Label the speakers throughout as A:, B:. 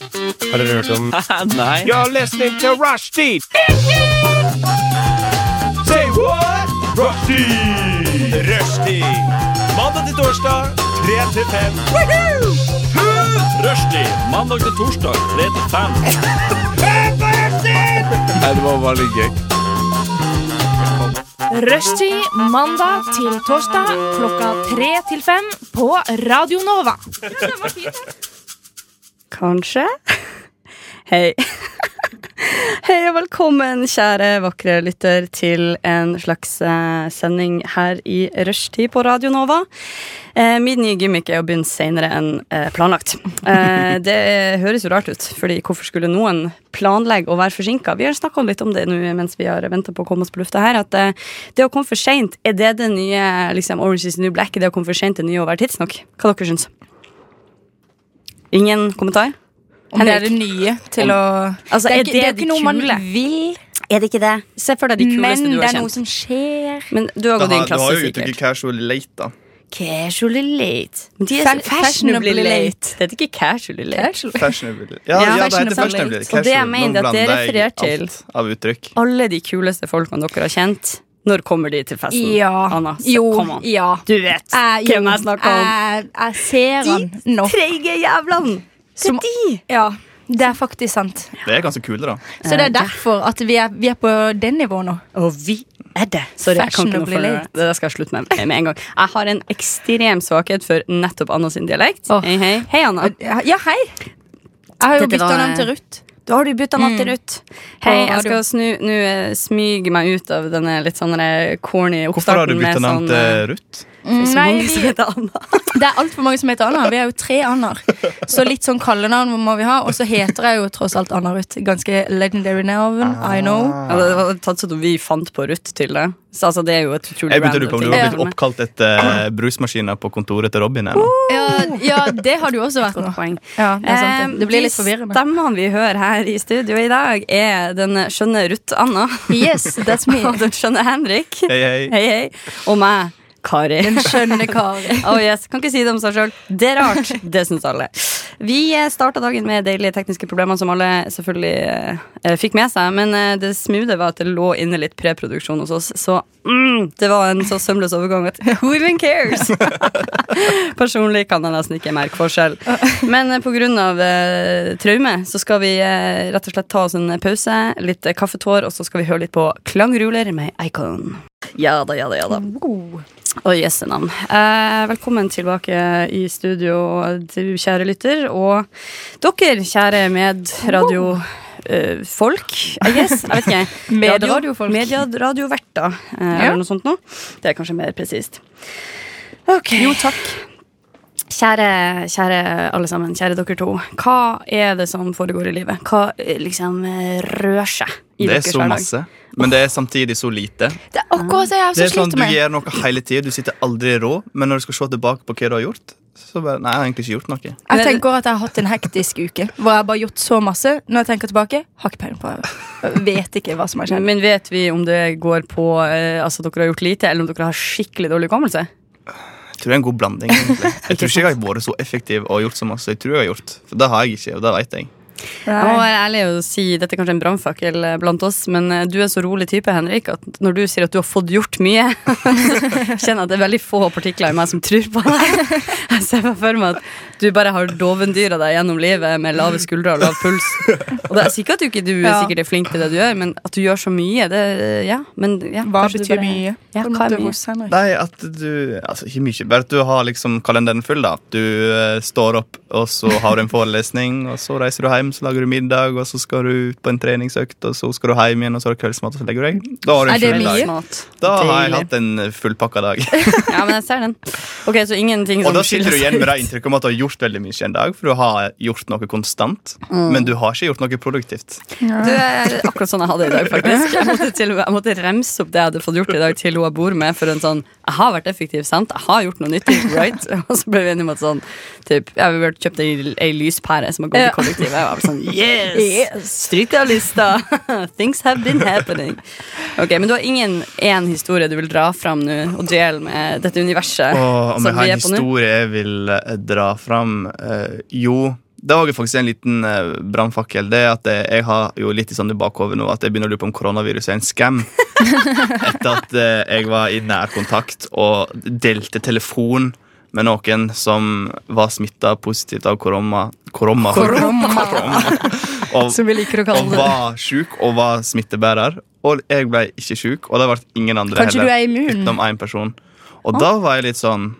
A: Har dere hørt om
B: Ah,
C: Nei.
B: You're listening to Rushdie! Say what? Rushdie! Rushdie! Mandag til torsdag, 3 til 5.
C: Rushdie mandag til torsdag 3 til 5.
A: Nei, det var bare litt gøy.
D: Rushtid mandag til torsdag klokka tre til fem på Radio Nova.
E: Kanskje? Hei. Hei og velkommen, kjære vakre lytter, til en slags eh, sending her i rushtid på Radio Nova. Eh, Min nye gimmick er å begynne senere enn eh, planlagt. Eh, Det høres jo rart ut, fordi hvorfor skulle noen planlegge å være forsinka? Vi har snakka litt om det nå mens vi har venta på å komme oss på lufta her, at eh, det å komme for seint, er det det nye liksom, Orange is the New Black? Er det å komme for seint det nye å være tidsnok? Hva dere syns? Ingen kommentar?
F: Om det er det nye til å
E: Altså, er
F: Det er ikke, det er
E: det
F: ikke noe man
E: kule?
F: vil,
E: Er det ikke det? Se for deg de
F: men
E: kuleste du
F: det
E: har
F: er noe
E: kjent.
F: som skjer.
E: Men du har
G: Da
E: gått i en
G: har, du har
E: klasse,
G: jo uttrykket
E: sikkert.
G: casual late, da.
E: Casually late. Men de er
F: Fa-
E: så fashionably
F: fashionably
E: late. Det heter ikke casually late.
G: Fashionable. Ja,
E: Ja,
G: ja, det heter
E: fashionable
G: fashionable.
E: late.
G: Casual.
E: Og det jeg mener
G: Nå
E: at det
G: blander jeg
E: refererer til.
G: alt av uttrykk.
E: Alle de kuleste folkene dere har kjent, når kommer de til festen?
F: Ja.
E: Anna, se-
F: jo.
E: kom an.
F: Ja.
E: Du vet
F: Eh, jo,
E: hvem jeg snakker om.
F: Jeg, jeg ser han nå.
E: Treige jævlene! Det
F: Som-
E: er de!
F: Ja, det er faktisk sant.
G: Det er ganske kule, da.
F: Så
E: Eh,
F: det er derfor at vi er, vi er på det nivået nå.
E: Og vi er det. Sorry, jeg kan ikke noe
F: Fashionably
E: for det.
F: late.
E: Det der skal jeg slutte med med en gang. Jeg har en ekstrem svakhet for nettopp Anna sin dialekt.
F: Åh.
E: Hei, hei. hei, Anna.
F: Ja, ja, hei. Jeg har jo
E: Dette
F: bytta
E: var-
F: navn til Ruth.
E: Da har du bytta navn
F: Mm.
E: til Ruth. Hei, jeg
F: radio.
E: skal snu, nå eh, smyge meg ut av denne litt sånn der corny oppstarten.
G: Hvorfor har du bytta
E: med
G: navn
E: sånn, eh,
G: til Ruth?
E: så
F: Mm, Nei,
E: mange
F: vi-
E: som heter Anna.
F: Det er altfor mange som heter Anna. Vi er jo tre Annar. Så litt sånn kallenavn må vi ha. Og så heter jeg jo tross alt Anna Ruth. Ganske legendary navn. I know.
E: Ja, det var tatt sånn at vi fant på Ruth til det. Så altså, det er jo et utrolig
G: Jeg begynte å lure på om du
E: ting.
G: var blitt oppkalt etter brusmaskiner på kontoret til Robin. Eller?
F: Ja, ja, det har du også vært nå. Ehm,
E: Godt poeng.
F: Ja, det, er sant, det. det blir
E: Eh,
F: litt forvirrende.
E: Stemmene vi hører her i studio i dag, er den skjønne Ruth Anna
F: Yes, that's me.
E: og den skjønne Henrik.
G: Hei, hei.
E: Hei, hei. Og meg, Kari.
F: Den skjønne karen.
E: Oh yes, Kan ikke si det om seg sjøl. Det er rart. Det syns alle. Vi starta dagen med deilige tekniske problemer som alle selvfølgelig eh, fikk med seg. Men eh, det smoothe var at det lå inne litt preproduksjon hos oss, så mm, det var en så sømløs overgang at who even cares? Personlig kan jeg nesten ikke merke forskjell. Men eh, på grunn av eh, traume så skal vi eh, rett og slett ta oss en pause, litt eh, kaffetår, og så skal vi høre litt på Klangruler med Icon. Ja da, ja da, ja da. Og jøsse navn. Eh, velkommen tilbake i studio, du kjære lytter, og dere kjære medradiofolk. I guess. Jeg vet ikke.
F: Medradiofolk.
E: Media, radioverter, eh,
F: Ja.
E: eller noe sånt noe. Det er kanskje mer presist. Ok. Jo, takk. Kjære, kjære alle sammen, kjære dere to. Hva er det som foregår i livet? Hva eh, liksom eh, rør seg i
G: Det er
E: deres
G: så
E: hverdag?
G: masse, men det er samtidig så lite.
F: Det er akkurat det jeg
G: Det
F: også
G: er
F: sliter
G: sånn, Du
F: med.
G: gjør noe hele tida, du sitter aldri i rå, men når du skal se tilbake på hva du har gjort, så bare Nei, jeg har egentlig ikke gjort noe.
F: Jeg tenker at jeg har hatt en hektisk uke hvor jeg bare har gjort så masse. Når jeg tenker tilbake, har ikke peiling på jeg Vet ikke hva som har skjedd.
E: Men vet vi om det går på eh, Altså dere har gjort lite, eller om dere har skikkelig dårlig hukommelse?
G: Jeg tror det er en god blanding. egentlig. Jeg tror ikke jeg har vært så effektiv og gjort så masse. Jeg tror jeg har gjort, for det har jeg ikke, og det vet jeg.
E: Jeg må
F: Nei.
E: være ærlig og si dette er kanskje en brannfakkel eh, blant oss, men eh, du er så rolig type, Henrik, at når du sier at du har fått gjort mye, så kjenner jeg at det er veldig få partikler i meg som tror på deg. Jeg ser meg for meg at du bare har dovendyra deg gjennom livet med lave skuldre og lav puls. Og det er sikkert at du ikke du er
F: Ja.
E: sikkert er flink til det du gjør, men at du gjør så mye, det Ja, men ja,
F: Hva
E: kanskje du
F: betyr
E: bare-
F: mye?
E: Ja,
F: på en
E: hva er
F: måte
E: mye?
F: hos Henrik?
G: Nei, at du Altså ikke mye, bare at du har liksom kalenderen full, da. Du eh, står opp, og så har du en forelesning, og så reiser du hjem, så lager du middag, og så skal du ut på en treningsøkt, og så skal du hjem igjen, og så har du kveldsmat, og så legger du deg. Da har du
F: Er
G: en
F: det
G: full dag.
F: mye?
E: Mat.
G: Da har jeg
E: Deilig.
G: hatt en eh, fullpakka dag.
E: Ja, men jeg ser den. Ok, så ingenting
G: Og
E: som
G: da sitter
E: skiller
G: du igjen
E: seg
G: med det
E: ut.
G: inntrykket om at du har gjort veldig mye en dag, for du har gjort noe konstant,
F: Mm.
G: men du har ikke gjort noe produktivt.
E: Du er akkurat sånn jeg hadde det i dag, faktisk. Jeg måtte, til, og med- jeg måtte remse opp det jeg hadde fått gjort i dag, til hun jeg bor med, for en sånn Jeg har vært effektiv, sant? Jeg har gjort noe nyttig, right? Og så ble vi enige om at sånn typ, Jeg har vært- kjøpt ei, ei lyspære som har gått i kollektivet. Jeg var sånn yes! Stryk det av lista! Things have been happening. Ok, Men du har ingen én historie du vil dra fram nå og dvele med dette universet
G: Åh, om jeg
E: som
G: har
E: vi er
G: en
E: på nå?
G: historie jeg vil eh, dra fram eh, Jo, Det var jo faktisk en liten eh, brannfakkel. Det er at eh, jeg har jo litt i sånn i bakhodet nå at jeg begynner å lure på om koronaviruset er en scam. Etter at eh, jeg var i nær kontakt og delte telefon med noen som var smitta positivt av korona. korona. Og,
F: Som vi liker å
G: og
F: kalle det.
G: var sjuk og var smittebærer. Og jeg ble ikke sjuk, og det ble ingen andre
F: Kanskje du
G: heller.
F: er immun?
G: Utenom én person. Og da var jeg litt sånn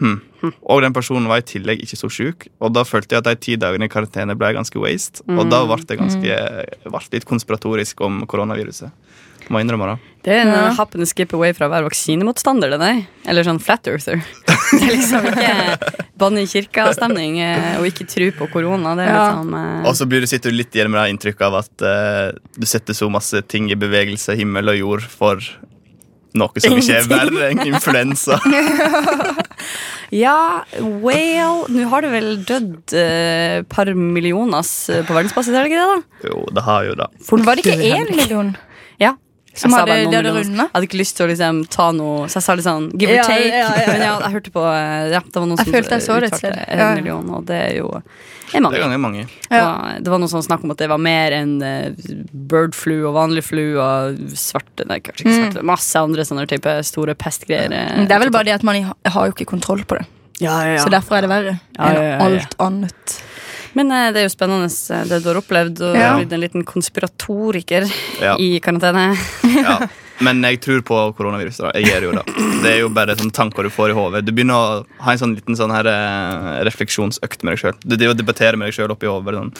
G: hm. Og den personen var i tillegg ikke så sjuk, og da følte jeg at de ti dagene i karantene ble ganske waste. Og
F: Mm.
G: da ble det ganske ble litt konspiratorisk om koronaviruset. Må innrømme det.
E: Det er en
F: Ja.
E: happen to skip away fra å være vaksinemotstander. Det der. Eller sånn flat earther. Det er liksom ikke banne i kirka-stemning eh, og ikke tro på korona. Det er
F: Ja.
E: liksom eh,
G: Og så blir du sitter du litt igjen med det inntrykket av at eh, du setter så masse ting i bevegelse, himmel og jord, for noe som ikke er verre enn influensa.
E: Ja, well Nå har det vel dødd et par millioner eh, på verdensbasis, er det ikke det? da?
G: Jo, det har jo det.
F: Var det ikke én million?
E: Ja.
F: Som
E: Jeg sa
F: hadde-
E: bare noen
F: de hadde
E: millioner.
F: rundet?
E: Jeg hadde ikke lyst til å liksom ta noe Så jeg sa litt sånn give
F: Ja,
E: or take.
F: ja, ja, ja.
E: Men ja, jeg hørte på eh, ja, Det var noen
F: Jeg
E: som
F: følte jeg så det et
E: uttalte
F: sted.
E: en
F: Ja, ja.
E: million, og det er jo en
G: Det
E: mange.
G: er ganske mange.
E: Det
F: Ja.
E: var- Det var noe sånn snakk om at det var mer enn eh, bird flu og vanlig flu og svarte Nei, kanskje ikke svarte. Masse andre sånne type store pestgreier. eh.
F: Mm. Det er vel bare det at man i- har jo ikke kontroll på det.
E: ja, ja, ja.
F: Så derfor er det verre
E: Ja, ja, ja,
F: enn
E: ja.
F: alt annet.
E: Men eh, det er jo spennende eh, det du har opplevd, og du
F: Ja.
E: har blitt en liten konspiratoriker
G: Ja.
E: i karantene.
G: Ja. Men jeg tror på koronaviruset. da, Jeg gjør jo det. Det er jo bare sånne tanker du får i hodet. Du begynner å ha en sånn liten sånn her, eh, refleksjonsøkt med deg sjøl. Du driver og debatterer med deg sjøl oppi hodet sånn,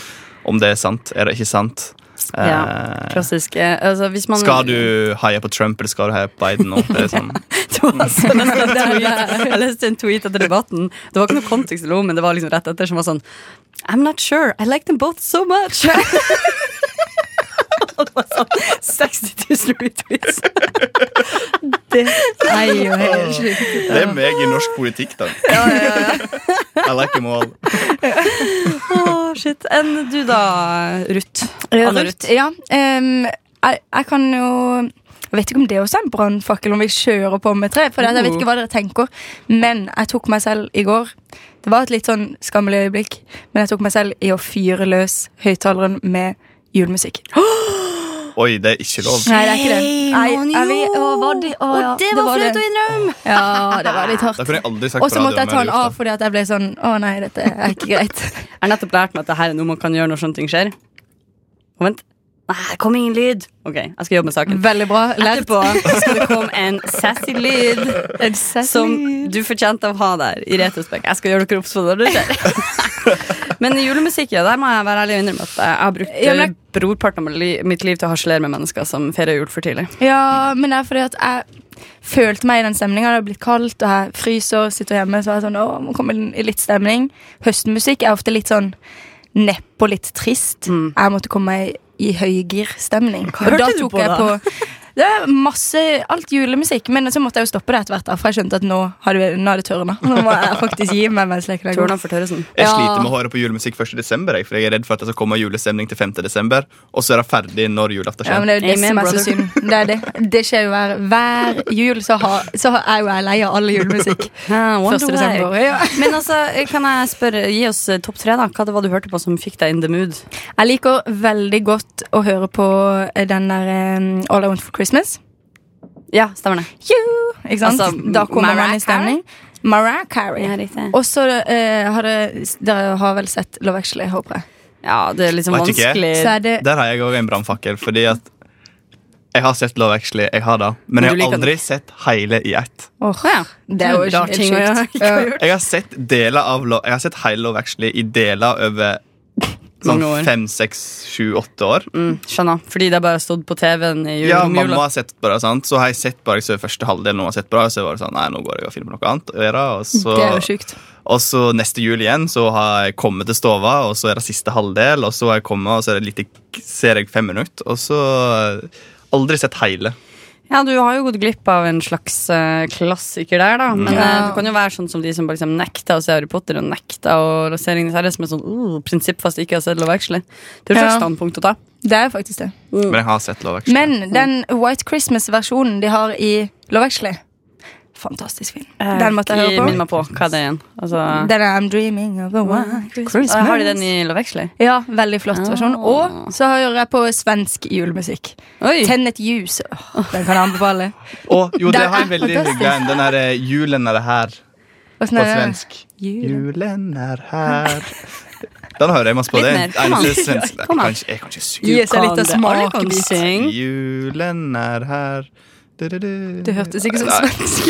G: om det er sant. Er det ikke sant? Eh,
E: Ja, klassisk. Eh, Altså, hvis man
G: skal du heie på Trump, eller skal du heie på Biden? nå? Det er sånn,
E: Det var altså nesten en tweet. Jeg leste en tweet etter debatten. Det var ikke noe kontekst, eller noe, men det var liksom rett etter som var sånn I'm not sure. I like them both so much. Og det var sånn 60 000 retweets.
F: Det er jo helt
G: det er meg i norsk politikk, da. I like them all.
E: Åh, shit. Enn du da, Ruth? Anna Ruth.
F: Ja, em, jeg, jeg kan jo jeg vet ikke om det også er en brannfakkel, om vi kjører på med tre. For det- jeg vet ikke hva dere tenker Men jeg tok meg selv i går. Det var et litt sånn skammelig øyeblikk, men jeg tok meg selv i å fyre løs høyttaleren med julemusikk.
G: Oi, det er ikke lov.
F: Nei, det er ikke det. Nei, jeg vet- å, var det- å, ja,
E: det var flaut å
F: innrømme! Ja, det var litt hardt.
G: Da kunne jeg aldri sagt
F: Og så
G: på radio
F: måtte jeg
G: om
F: ta den
G: hadde gjort
F: av fordi at jeg ble sånn Å nei, dette er ikke greit.
E: Jeg har nettopp lært meg at det her er noe man kan gjøre når sånne ting skjer. Og vent. Nei, kom ingen lyd. Ok, jeg skal jobbe med saken.
F: Veldig bra. Lært.
E: Etterpå skal det komme en sassy lyd. Som du fortjente å ha der, i retrospekt. Jeg skal gjøre dere obs på det når det skjer. Men julemusikk, ja, der må jeg være ærlig og innrømme at jeg har brukt
F: Ja, men jeg-
E: eh, brorparten av li- mitt liv til å harselere med mennesker som feirer jul for tidlig.
F: Ja, men det er fordi at jeg følte meg i den stemninga. Det har blitt kaldt, og jeg fryser, sitter hjemme. Så er jeg sånn, å, må komme inn i litt stemning. Høstmusikk er ofte litt sånn nepp og litt trist. Jeg måtte komme meg i høygirstemning. Og
E: Mm. hørte
F: da
E: du
F: tok
E: på
F: jeg
E: da?
F: på det er masse, alt julemusikk, men så måtte jeg jo stoppe det etter hvert. da, For jeg skjønte at nå har det, nå har det tørna. Nå må jeg faktisk gi meg mens leken er god.
E: Tørna for Tørresen.
G: Jeg
F: Ja.
G: sliter med å høre på julemusikk 1. desember, jeg, for jeg er redd for at det skal komme julestemning til 5. desember, og så er det ferdig når julaften
F: Ja, men
G: skjer.
F: det er jo det
E: Amen,
F: som er
E: brother.
F: så synd. Det, er det. det skjer jo hver, hver jul, så, har, så er jo jeg lei av all julemusikk.
E: Ah, wonder
F: Første
E: why.
F: desember, ja.
E: Men altså, kan jeg spørre, gi oss eh, topp tre, da. Hva det var du hørte på som fikk deg in the mood?
F: Jeg liker veldig godt å høre på eh, den der eh, All I Want for Christmas.
E: Ja, stemmer det.
F: You! Ikke sant?
E: Altså,
F: da kommer
E: Mariah
F: man i stemning. Mariah Carey.
E: Ja, riktig.
F: Og så eh, har dere, dere har vel sett Love Actually, håper jeg.
E: Ja, det er liksom
G: Vet ikke.
E: vanskelig.
F: Så er det
G: Der har jeg òg en brannfakkel, fordi at jeg har sett Love Actually, jeg har det, men
E: Men du
G: jeg har
E: liker
G: aldri sett hele i ett.
F: Åh,
E: Ja.
F: Eh, Det er jo
E: Rar
F: helt
E: ting å gjøre.
F: sjukt. Ja.
G: Jeg har sett deler av Love, jeg har sett hele Love Actually i deler over sånn
E: Mange år.
G: fem, seks, sju, åtte år.
E: Mm, skjønner. Fordi det bare har stått på TV-en i jul
G: Ja,
E: om
G: mamma
E: jula.
G: har sett på det, sant? så har jeg sett bare så første halvdel. Nå har jeg sett på det, og så var det sånn, nei, nå går jeg og finner på noe annet å gjøre. Og så,
F: Det er jo sjukt.
G: Og så neste jul igjen så har jeg kommet til stova, og så er det siste halvdel, og så har jeg kommet, og så er det lite, ser jeg fem minutter, og så eh, aldri sett hele.
E: Ja, du har jo gått glipp av en slags eh, klassiker der, da.
G: Mm.
E: Men
F: Ja.
E: eh, du kan jo være sånn som de som bare liksom nekter å se Harry Potter, og nekter å se Ringenes herre, som er sånn uh, prinsippfast ikke har sett Love Actually. Det er jo et slags
F: Ja.
E: standpunkt å ta.
F: Det er faktisk det.
E: Mm.
G: Men jeg har sett Love Actually.
F: Men den White Christmas-versjonen de har i Love Actually fantastisk film.
E: Eh,
F: Den måtte jeg
E: ikke
F: høre
E: Minn
F: på.
E: meg på. Hva er det igjen? Altså,
F: Den er I'm dreaming of a white Christmas.
E: Ah, har de den i Love Actually?
F: Ja, veldig flott versjon.
E: Ah.
F: Og så hører jeg på svensk julemusikk.
E: Oi!
F: Tennet Ljus. Åh, Den kan jeg anbefale.
G: Og jo, det
F: Den
G: har en
F: er
G: veldig
F: fantastisk.
G: hygge en. Den her eh, 'Julen er her'
F: Åssen
G: på
F: sånn er det?
G: svensk.
F: Jul.
G: Julen er her Den hører jeg masse på.
E: Litt
G: Det er
E: mer. Kom
G: eneste
E: an.
G: svenske
E: Kom an.
G: Jeg kan ikke- Jeg kan ikke synge.
F: Gi oss en liten
E: det. Alle kan
F: smakebit.
E: synge.
G: Julen er her Du-du-du.
F: Det hørtes ikke som
G: Nei.
F: svensk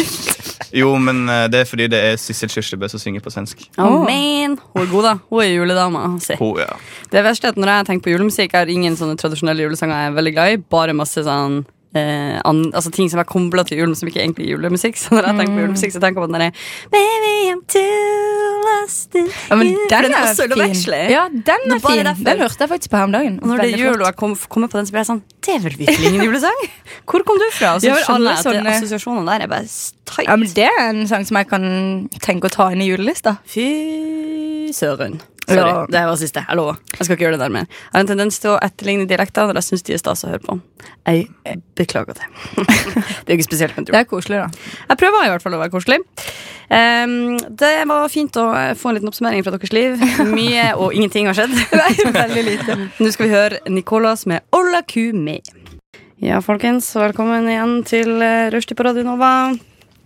F: ut.
G: Jo, men eh, det er fordi det er Sissel Kyrkjebø som synger på svensk.
E: Oh, man. Hun er god, da. Hun er juledama. Se.
G: Ho, ja.
E: Det verste er at når jeg tenker på julemusikk, jeg har ingen sånne tradisjonelle julesanger jeg er veldig glad i. Bare masse sånn eh, an, altså ting som er kobla til jul, men som ikke egentlig er julemusikk. Så når jeg tenker
F: Mm.
E: på julemusikk, så tenker jeg på den derre Baby, I'm too lost in
F: Ja, men
E: you. For
F: den er
E: også Love
F: fin.
E: Actually.
F: Ja, den
E: Nå
F: er
E: var det
F: fin.
E: derfor.
F: Den hørte jeg faktisk på her om dagen.
E: Og når det er
F: Veldig
E: jul, og
F: flott.
E: jeg kom- kommer på den, så blir jeg sånn Det er vel virkelig ingen julesang? Hvor kom du fra? Og så
F: Ja, men
E: skjønner
F: alle
E: jeg at det-
F: sånne-
E: assosiasjonene der er bare tight.
F: Ja, men Det er en sang som jeg kan tenke å ta inn i julelista.
E: Fy søren. Sorry,
F: Ja.
E: det her var siste. Jeg lover. Jeg skal ikke gjøre det der mer. Jeg har en tendens til å etterligne dialekter når jeg syns de er stas å høre på. Jeg eh, beklager det. det er jo ikke spesielt med
F: Det
E: tro.
F: er koselig, da.
E: Jeg prøver i hvert fall å være koselig. Ehm, det var fint å eh, få en liten oppsummering fra deres liv. Mye og ingenting har skjedd.
F: Veldig lite.
E: Nå skal vi høre Nicolas med Olla ku me. Ja, folkens, velkommen igjen til eh, Rushdie på Radio Nova.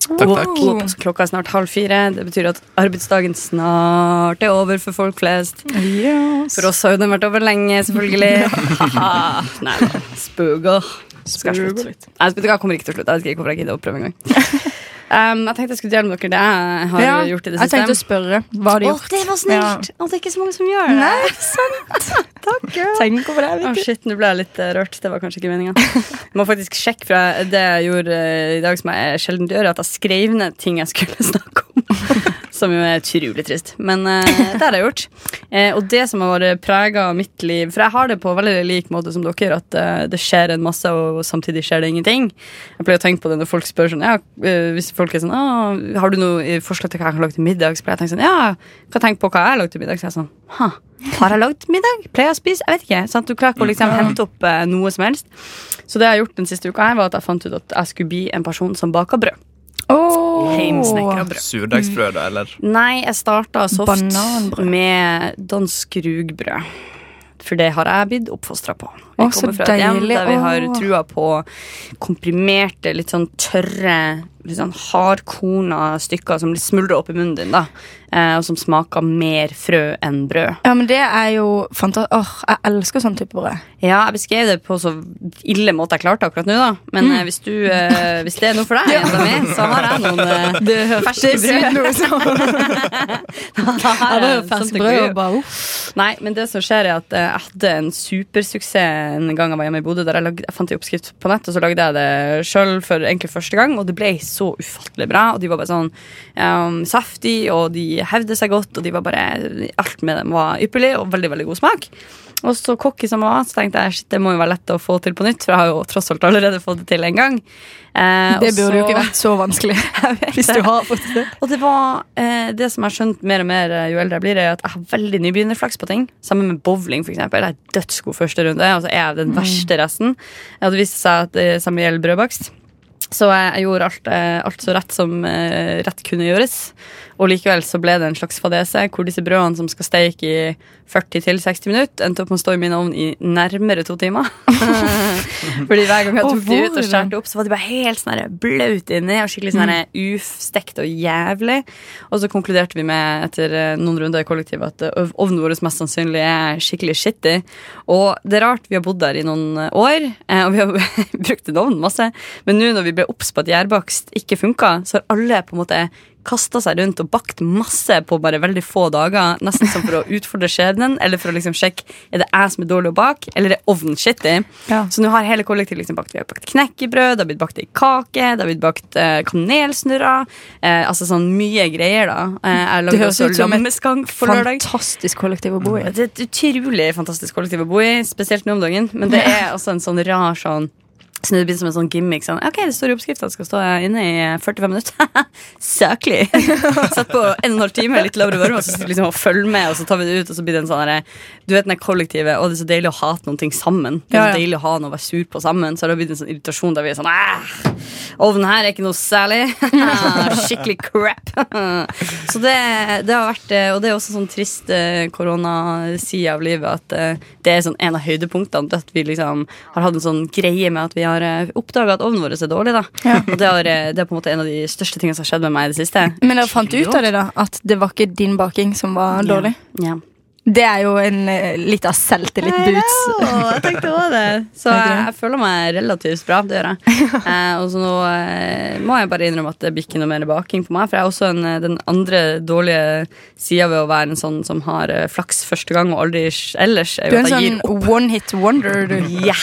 G: Takk, takk.
E: Wow. Klokka er snart halv fire. Det betyr at arbeidsdagen snart er over for folk flest. For oss har jo den vært over lenge, selvfølgelig. Haha. Nei da. Spøker. Skal jeg slutte? Nei, jeg vet ikke, jeg kommer ikke til å slutte. Jeg vet ikke hvorfor jeg gidder å prøve engang. Um, jeg tenkte jeg skulle dele med dere det jeg har
F: Ja,
E: gjort i det
F: jeg tenkte å
E: siste.
F: spørre. Hva har du
E: Å,
F: gjort?
E: det var snilt! Å, det er ikke så mange som gjør det.
F: Nei, Takk, Tenk over det.
E: Å,
F: vet du.
E: shit, nå ble jeg litt eh, rørt. Det var kanskje ikke meninga. Må faktisk sjekke fra det jeg gjorde eh, i dag som jeg sjelden gjør, at jeg skrev ned ting jeg skulle snakke om. Som jo er utrolig trist. Men eh, det har jeg gjort. Eh, og det som har vært prega av mitt liv For jeg har det på veldig lik måte som dere, at eh, det skjer en masse, og samtidig skjer det ingenting. Jeg pleier å tenke på det når folk spør sånn ja, eh, Hvis folk er sånn «Å, Har du noe eh, forslag til hva jeg kan lage til middag? Så pleier jeg å tenke sånn Ja, kan tenke på hva jeg har lagd til middag. Så er jeg sånn «Hæ, Har jeg lagd middag? Pleier jeg å spise? Jeg vet ikke. Sant? Du klarer ikke å liksom hente opp eh, noe som helst. Så det jeg har gjort den siste uka her, var at jeg fant ut at jeg skulle bli en person som baker brød.
F: Åh.
E: Heimsnekra brød.
G: Surdeigsbrød, da, eller?
E: Nei, jeg starta soft
F: Bananbrød.
E: med dansk rugbrød. For det har jeg blitt oppfostra på. Vi
F: Å, så
E: kommer fra et hjem
F: deilig.
E: der vi har
F: Å.
E: trua på komprimerte, litt sånn tørre, litt sånn hardkorna stykker som smuldrer opp i munnen din, da. Eh, og som smaker mer frø enn brød.
F: Ja, men det er jo fantastisk. Åh, jeg elsker sånn type brød.
E: Ja, jeg beskrev det på så ille måte jeg klarte akkurat nå, da. Men eh, hvis, du, eh, hvis det er noe for deg, jenta mi, så har jeg noen eh, ferske brød.
F: sånn.
E: Da har jeg something for you.
F: bare
E: Nei, men det som skjer er at eh, jeg hadde en supersuksess en gang jeg var hjemme i Bodø. Der jeg, lagde, jeg fant en oppskrift på nett, og så lagde jeg det sjøl for egentlig første gang. Og det ble så ufattelig bra. Og de var bare sånn um, saftig, og de hevde seg godt, og de var bare Alt med dem var ypperlig, og veldig, veldig god smak. Og så cocky som jeg var, så tenkte jeg shit, det må jo være lett å få til på nytt, for jeg har jo tross alt allerede fått det til en gang. Eh,
F: Det
E: og
F: burde
E: så-
F: jo ikke vært så vanskelig. Hvis du har fått det.
E: og det var eh, det som jeg har skjønt mer og mer eh, jo eldre jeg blir, er at jeg har veldig nybegynnerflaks på ting. Sammen med bowling, for eksempel. Jeg er dødsgod første runde, og så er jeg den verste resten. Og det viste seg at det samme gjelder brødbakst. Så jeg, jeg gjorde alt, eh, alt så rett som eh, rett kunne gjøres. Og likevel så ble det en slags fadese hvor disse brødene som skal steike i 40-60 minutter, endte opp med å stå i min ovn i nærmere to timer. Fordi hver gang jeg
F: Å,
E: tok de ut og
F: hvordan?
E: skjærte opp, så var de bare helt sånn her blaut inni og skikkelig sånn her ustekt og jævlig. Og så konkluderte vi med etter eh, noen runder i kollektivet at eh, ov- ovnen vår mest sannsynlig er skikkelig shitty. Og det er rart, vi har bodd der i noen eh, år, eh, og vi har brukt en ovn masse, men nå når vi ble obs på at gjærbakst ikke funka, så har alle på en måte kasta seg rundt og bakt masse på bare veldig få dager, nesten som for å utfordre skjebnen, eller for å liksom sjekke er det jeg som er dårlig å bake, eller er ovnen shitty.
F: Ja.
E: Så nå har hele kollektivet liksom bakt. Vi har bakt knekkebrød, det har blitt bakt ei kake, det har blitt bakt eh, kanelsnurrer. Eh, altså sånn mye greier, da. Eh, jeg
F: Det
E: lagde
F: høres
E: også
F: ut som et
E: lammeskank på lørdag.
F: Fantastisk kollektiv å bo i.
E: Det er et utrolig fantastisk kollektiv å bo i, spesielt nå om dagen. Men det er også en sånn altså rar sånn Så det blir som en sånn gimmick. Sånn, ok, det står i oppskrifta, skal stå inne i 45 minutter. Saklig! Satt på en og en halv time, litt lavere varme, og så sitter liksom og følger med, og så tar vi det ut, og så blir det en sånn derre Du vet den der kollektive, og det er så deilig å hate noen ting sammen. Det er
F: Ja, ja.
E: så deilig å ha noe å være sur på sammen. Så det har blitt en sånn irritasjon der vi er sånn Æh! Ovnen her er ikke noe særlig. Skikkelig crap. Så det, det har vært eh, Og det er også sånn trist eh, koronaside av livet at eh, det er sånn en av høydepunktene at vi liksom har hatt en sånn greie med at vi har oppdaga at ovnen vår er dårlig, da. Og det, har, eh, det er på en måte en av de største tingene som har skjedd med meg i det siste.
F: Men dere fant ut av det, da? At det var ikke din baking som var dårlig?
E: Ja.
F: Det er jo en eh, liten selvtillit-boots.
E: Åh, jeg tenkte også det. Så jeg, jeg føler meg relativt bra. Det gjør jeg. Eh, og så nå eh, må jeg bare innrømme at det blir ikke noe mer baking på meg. For jeg er også en, eh, den andre dårlige sida ved å være en sånn som har eh, flaks første gang og aldri s- ellers. Er
F: Du
E: jo
F: er
E: at
F: en
E: jeg gir opp.
F: sånn one hit wonder, du.
E: Ja,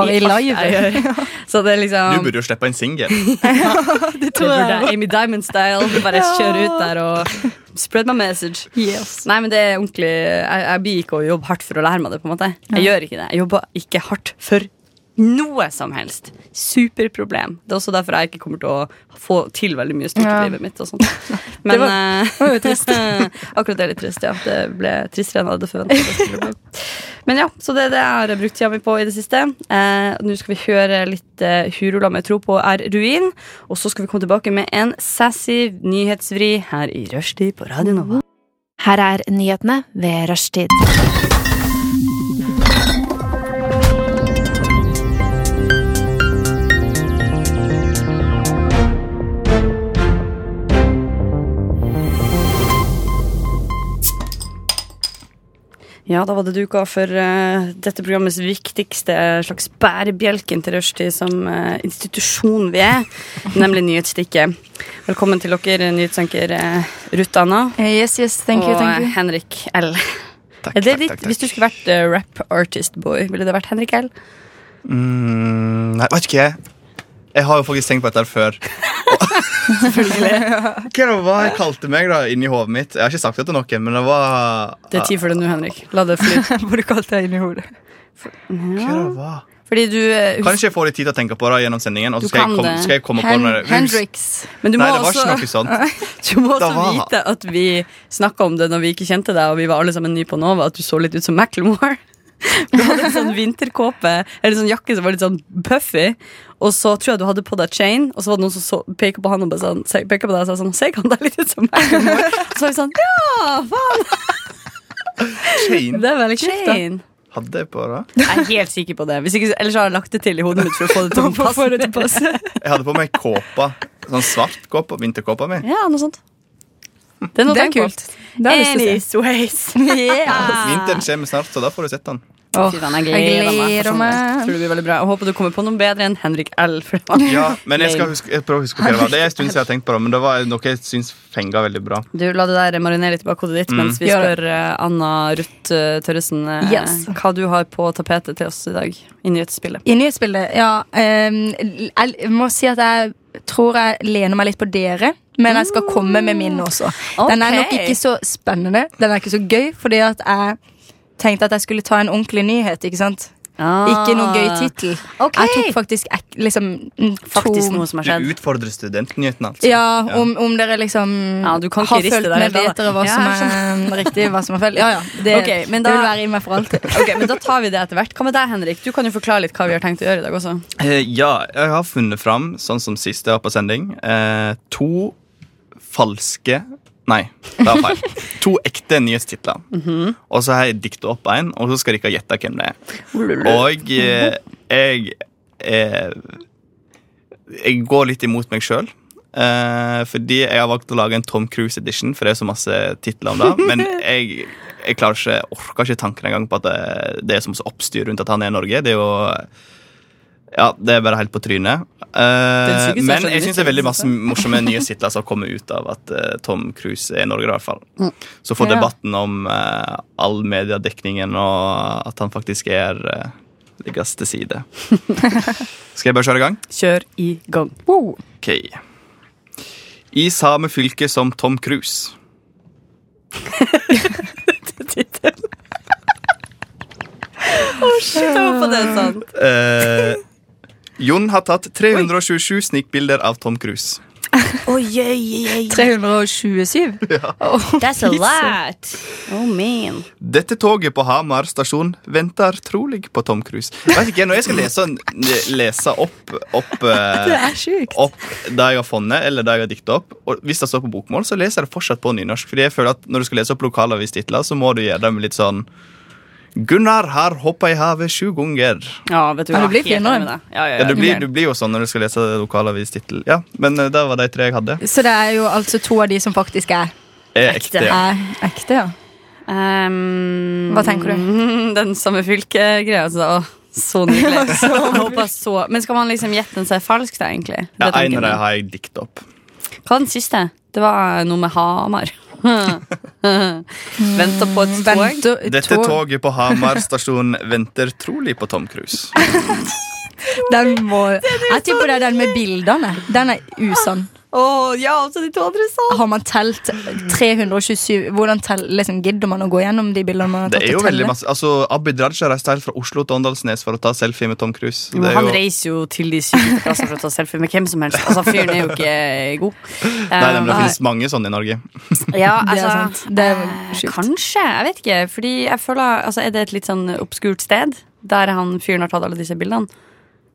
F: Bare i
E: alt
F: live.
E: jeg gjør. Så det er
G: Du
E: liksom
G: burde jo slippe en singel.
E: det burde jeg, Amy Diamond-style. Bare kjøre ut der og spread my message.
F: Yes.
E: Nei, men det er ordentlig Jeg, jeg blir ikke å jobbe hardt for å lære meg det, på en måte. Jeg gjør ikke det. Jeg jobber ikke hardt for noe som helst. Superproblem. Det er også derfor jeg ikke kommer til å få til veldig mye stort
F: Ja.
E: i livet mitt. Og sånt. Men eh,
F: var jo trist.
E: akkurat det er litt trist, ja. Det ble tristere enn jeg hadde forventet. Men ja, så det er det jeg har brukt tida mi på i det siste. Eh, Nå skal vi høre litt eh, Hurula med tro på er ruin. Og så skal vi komme tilbake med en sassy nyhetsvri her i rushtid på Radio Nova.
H: Her er nyhetene ved rushtid.
E: Ja, da var det duka for eh, dette programmets viktigste eh, slags bærebjelken til rushtid som eh, institusjon vi er, nemlig Nyhetsstikket. Velkommen til dere, nyhetsanker uh, Ruth Anna
F: Yes, yes, thank you,
E: og eh,
F: thank you.
E: Henrik L.
G: Takk,
E: Er det
G: takk,
E: ditt,
G: takk,
E: Hvis du
G: takk.
E: skulle vært eh, rap artist boy, ville det vært Henrik L?
G: Mm, nei, vet ikke jeg. Jeg har jo faktisk tenkt på dette her før. Hva det var jeg kalte meg da, inni hodet mitt? Jeg har ikke sagt det til noen, men det var
E: Det er tid for det nå, Henrik. La det flyte.
F: Hva du kalte det inni hodet?
G: Hva det var?
E: Fordi du eh,
G: Kan ikke jeg få litt tid til å tenke på det gjennom sendingen? Og
E: Du
G: så skal,
E: kan
G: jeg komme,
E: det.
G: skal jeg komme på
F: Hen
G: når jeg-
F: Hendrix.
E: Men du må
G: Nei, det var
E: også,
G: ikke noe sånt.
E: du må
G: Da
E: også
G: var-
E: vite at vi snakka om det når vi ikke kjente deg, og vi var alle sammen nye på Nova, at du så litt ut som Macklemore. Du hadde en sånn vinterkåpe Eller sånn jakke som var litt sånn puffy. Og så tror jeg du hadde på deg chain, og så var det noen som så, peker på han og bare sånn, se- peker på deg og sa sånn Ser ikke han deg litt ut som Macklemore? Så var vi sånn Ja, faen!
G: Shane
E: Det er veldig kult, da.
G: hadde jeg på det.
E: Jeg er helt sikker på det. Hvis ikke, ellers har jeg lagt det til i hodet mitt for å få det til å passe.
G: Jeg hadde på meg kåpa. Sånn svart kåpa, vinterkåpa mi.
E: Ja, noe sånt. Det er noe å
F: Det er
E: tenke på.
F: kult. Det har jeg lyst
E: Anyways.
G: Vinteren kommer snart, så da får du sett den.
F: til å
E: Fy
F: se.
E: faen, jeg
F: jeg
E: gleder meg.
F: gleder
E: for
F: meg.
E: sånn. Tror det blir veldig bra. Jeg håper du kommer på noe bedre enn Henrik L. For det var-
G: Ja, men jeg skal huske, jeg prøver å huske hva det var. Det er en stund siden jeg har tenkt på det, men det var noe jeg syns fenga veldig bra.
E: Du La det der marinere litt i bakhodet ditt
G: Mm.
E: mens vi
F: Gjør
E: spør eh, Anna Ruth eh, Tørresen eh,
F: Yes.
E: hva du har på tapetet til oss i dag i nyhetsbildet.
F: I nyhetsbildet, ja. ehm, jeg må si at jeg tror jeg lener meg litt på dere. Men jeg skal komme med min også. Den er nok
E: Ok.
F: ikke så spennende. Den er ikke så gøy, fordi at jeg tenkte at jeg skulle ta en ordentlig nyhet. ikke sant?
E: Ah,
F: Ikke noe gøy tittel.
E: Ok.
F: Jeg tok faktisk ek- liksom mm,
E: Faktisk
F: to-
E: noe som har
G: Du
E: skjedd.
G: utfordrer studentnyheten, altså.
F: Ja, om, om dere liksom
E: Ja, du kan ikke
F: har
E: riste
F: fulgt
E: deg
F: med,
E: helt,
F: vet dere
E: da.
F: hva
E: Ja,
F: som er riktig, hva som er feil. Ja, ja, det,
E: Ok, men
F: det
E: da-
F: vil være i meg for alltid.
E: Ok, men Da tar vi det etter hvert. Hva med deg, Henrik? Du kan jo forklare litt hva vi har tenkt å gjøre i dag også.
G: Eh, ja, jeg har funnet fram, sånn som sist jeg var på sending, eh, to falske Nei, det var feil. To ekte nyhetstitler. Og så har jeg dikta opp en, og så skal dere gjette hvem det er. Og eh, jeg eh, Jeg går litt imot meg sjøl. Eh, fordi jeg har valgt å lage en Tom Cruise edition, for det er så masse titler om det. Men jeg, jeg klarer ikke, orker ikke tanken engang på at det, det er så masse oppstyr rundt at han er i Norge. Det er jo ja, det er bare helt på trynet.
E: Den
G: Eh,
E: sykeste
G: men
E: skjønner
G: jeg
E: du
G: syns det er
E: ikke,
G: veldig masse Altså, morsomme nye titler som kommer ut av at eh, Tom Cruise er i Norge, i hvert fall. Så får
E: Ja.
G: debatten om eh, all mediedekningen og at han faktisk er uh, liggast til side. Skal jeg bare kjøre i gang?
E: Kjør i gang.
G: OK. I samme fylke som Tom Cruise.
E: Shit, jeg håper det er sant.
G: Eh, Jon har tatt 327 snikbilder av Tom Cruise.
F: 327.
E: That's a lot. Oh man.
G: Dette toget på Hamar stasjon venter trolig på Tom Cruise. Jeg Vet ikke, Når jeg skal lese, lese opp, opp,
F: Det
G: eh,
F: er sjukt.
G: opp det jeg har funnet, eller det jeg har dikta opp Og Hvis det står på bokmål, så leser jeg det fortsatt på nynorsk. Fordi jeg føler at Når du skal lese opp lokalavistitler, så må du gjøre det med litt sånn Gunnar har hoppa i havet sju ganger.
E: Ja, vet du
F: Ja,
E: hva.
F: du blir
E: Helt
F: finere.
E: enig med deg. Ja, ja,
G: Ja, du,
E: ja.
G: blir, du blir jo sånn når du skal lese lokalavistittel. Ja, men eh, det var de tre jeg hadde.
F: Så det er jo altså to av de som faktisk er,
G: Er
E: Ekte.
G: ekte. ja.
F: er ekte, ja.
E: Ehm,
F: Hva tenker
E: Den samme fylke-greia. Altså. Så nydelig. Jeg håper så. Men skal man liksom gjette den seg falsk, da, egentlig?
G: Ja,
E: Det tenker
G: en av
E: jeg.
G: dem har jeg dikta opp.
E: Hva var den siste? Det var noe med Hamar. Venta på et tog.
F: Vent, og-
G: Dette toget på Hamar stasjon venter trolig på Tom Cruise.
F: Den må Jeg tipper det er den med bildene. Den er usann.
E: Å ja, altså de to andre sa
F: Har man telt 327 Hvordan tell, liksom, gidder man å gå gjennom de bildene man har
G: Det
F: tatt?
G: er
F: og
G: jo
F: telle?
G: veldig masse Altså, Abid Raja reiste helt fra Oslo til Åndalsnes for å ta selfie med Tom Cruise. Det er
E: Han
G: jo,
E: reiser jo til de sykeste plasser for å ta selfie med hvem som helst. Altså, Fyren er jo ikke god.
G: nei, men det
E: Ehm,
G: finnes mange sånne i Norge.
E: ja,
F: Det er
E: altså,
F: sant. Det er
E: eh,
F: sjukt.
E: Kanskje. Jeg vet ikke. Fordi jeg føler altså, Er det et litt sånn obskurt sted der han fyren har tatt alle disse bildene?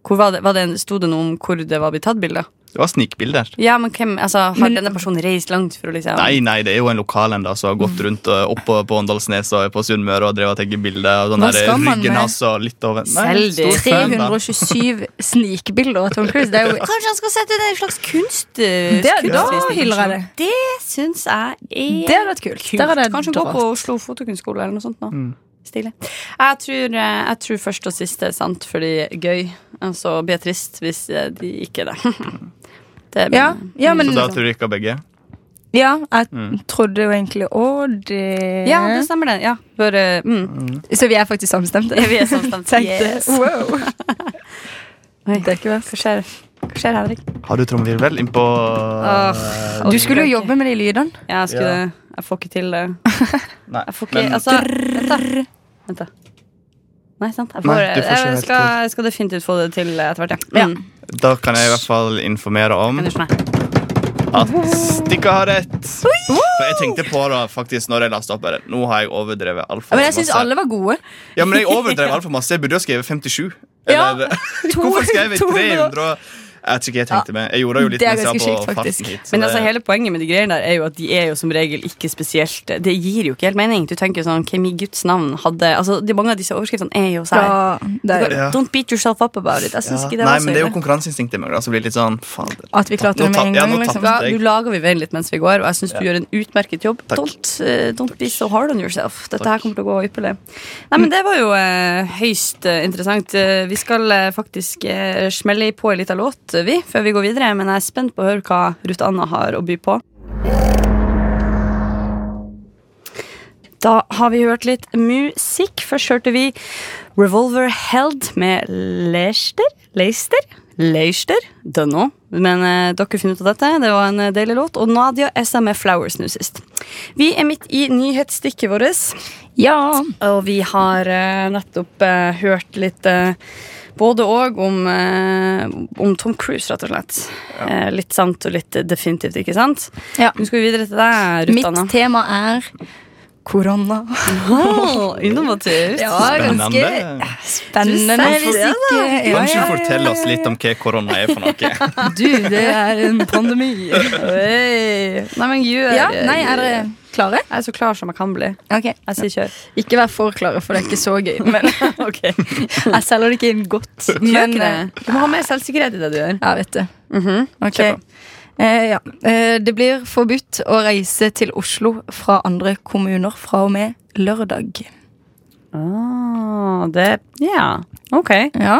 E: Hvor var det, var det, en- sto det noe om hvor det var blitt tatt bilder?
G: Det var snikbilder.
E: Ja, men hvem, altså, Har
F: Men-
E: denne personen reist langt for å liksom
G: Nei, nei, det er jo en lokal en da, som har gått rundt og opp på- på Åndalsnes og på Sunnmøre og drevet og tatt bilder. Og sånn
F: Hva
G: der,
F: skal man
G: ryggen
F: med?
G: hans og litt over
E: Selfie.
G: stor fan, da.
F: 327 snikbilder av Tom Cruise. Det er jo
E: Kanskje han skal sette det i en slags kunst... eh,
F: det, Da hyller jeg det.
E: Det syns jeg er
F: Det hadde vært kult. Der hadde jeg
E: Kanskje gå
F: dratt.
E: på Oslo fotokunstskole eller noe sånt. Da.
G: Mm.
E: Stilig. Jeg tror, eh, jeg tror først og siste er sant fordi gøy. Og så blir jeg trist hvis eh, de ikke er det.
G: Mm.
E: det er
F: Ja,
E: min-
F: ja, men,
G: Så da tror jeg ikke begge.
F: ja, jeg trodde jo egentlig Å, det
E: ja, det stemmer det. Ja. Bare, mm.
F: Så vi er faktisk samstemte.
E: Vi er samstemte.
F: Tenkte,
E: Yes.
F: wow.
E: Oi.
F: Det er ikke verst.
E: Hva skjer? Hva skjer, Henrik?
G: Har du trommevirvel innpå eh,
E: Åh,
F: Du skulle jo jobbe med de lydene.
E: Ja, jeg, skulle,
G: Ja.
E: jeg får ikke til det.
G: Nei,
E: Jeg får ikke,
G: men
E: altså, vent da. vent da. Nei, sant. Jeg, får,
G: Nei, du får ikke
E: jeg,
G: helt
E: skal, jeg skal definitivt få det til etter hvert, ja.
F: Ja.
E: Mm.
G: da kan jeg i hvert fall informere om
E: Kan du skjønne?
G: at Stikka har rett. For jeg tenkte på det faktisk når jeg lasta opp. bare, Nå har jeg overdrevet altfor
F: Men jeg syns alle var gode.
G: Ja, men jeg overdrev altfor masse. Jeg burde jo skrevet 57.
F: Ja,
G: Eller, eh, hvorfor skrev jeg
F: 200?
G: 300? Jeg vet ikke hva jeg tenkte med. Jeg gjorde jo litt
F: Det er
G: mens jeg var
F: ganske
G: på
F: sykt,
G: farten
F: faktisk.
G: hit, så
E: Men
G: det-
E: altså, hele poenget med de greiene der er jo at de er jo som regel ikke spesielt Det gir jo ikke helt mening. Du tenker jo sånn Hvem i Guds navn hadde Altså, de, Mange av disse overskriftene er jo sånn
F: Ja, det er,
G: Ja.
E: Don't beat yourself up about it. Jeg synes
G: Ja.
E: ikke det
G: Nei,
E: var så
G: men det er jo
E: ille.
G: konkurranseinstinktet i meg. da, som blir litt sånn, fader.
F: at vi klarte det
G: Nå
F: med
G: tapp-
F: en
G: ja,
F: gang.
G: nå
F: Liksom.
E: Da,
G: det er-
E: nå lager vi veien litt mens vi går, og jeg syns du gjør en utmerket jobb.
G: Takk.
E: Don't, eh, don't be so hard on yourself. Dette her kommer til å gå ypperlig. Nei, men Det var jo eh, høyst eh, interessant. Eh, vi skal eh, faktisk eh, smelle på en liten låt, eh, vi, før vi går videre. Men jeg er spent på å høre hva Ruth Anna har å by på. Da har vi hørt litt musikk. Først hørte vi Revolver Held med Leicester. Leicester? Leicester? Dunno. Men eh, dere finner ut av dette. Det var en eh, deilig låt. Og Nadia Essa med Flowers nå sist. Vi er midt i nyhetsstikket vårt.
F: Ja.
E: Og vi har eh, nettopp eh, hørt litt eh, både og om, eh, om Tom Cruise, rett og slett. Eh, litt sant og litt definitivt ikke sant.
F: Ja.
E: Nå skal vi videre til deg, Ruth Anna.
F: Mitt tema er korona.
E: Åh, innovativt.
G: Spennende.
F: spennende
E: Du sier det,
F: musikk. Ja,
G: Kan ikke
F: ja,
G: du fortelle oss litt om hva korona er for noe?
F: ja. Du, det er en pandemi.
E: Oi. Nei, men gjør
F: Ja, nei, er dere klare?
E: Jeg er så klar som jeg kan bli.
F: Ok.
E: Jeg sier kjør.
F: Ikke vær for klare, for det er ikke så gøy. Men
E: Ok.
F: jeg selger det ikke inn godt. Men, eh,
E: Du må ha mer selvsikkerhet i det du gjør.
F: Ja, vet du. Ok.
E: Kjør på.
F: Eh, ja. eh, det blir forbudt å reise til Oslo fra andre kommuner fra og med lørdag.
E: Ah, det Ja, ok.
F: Ja.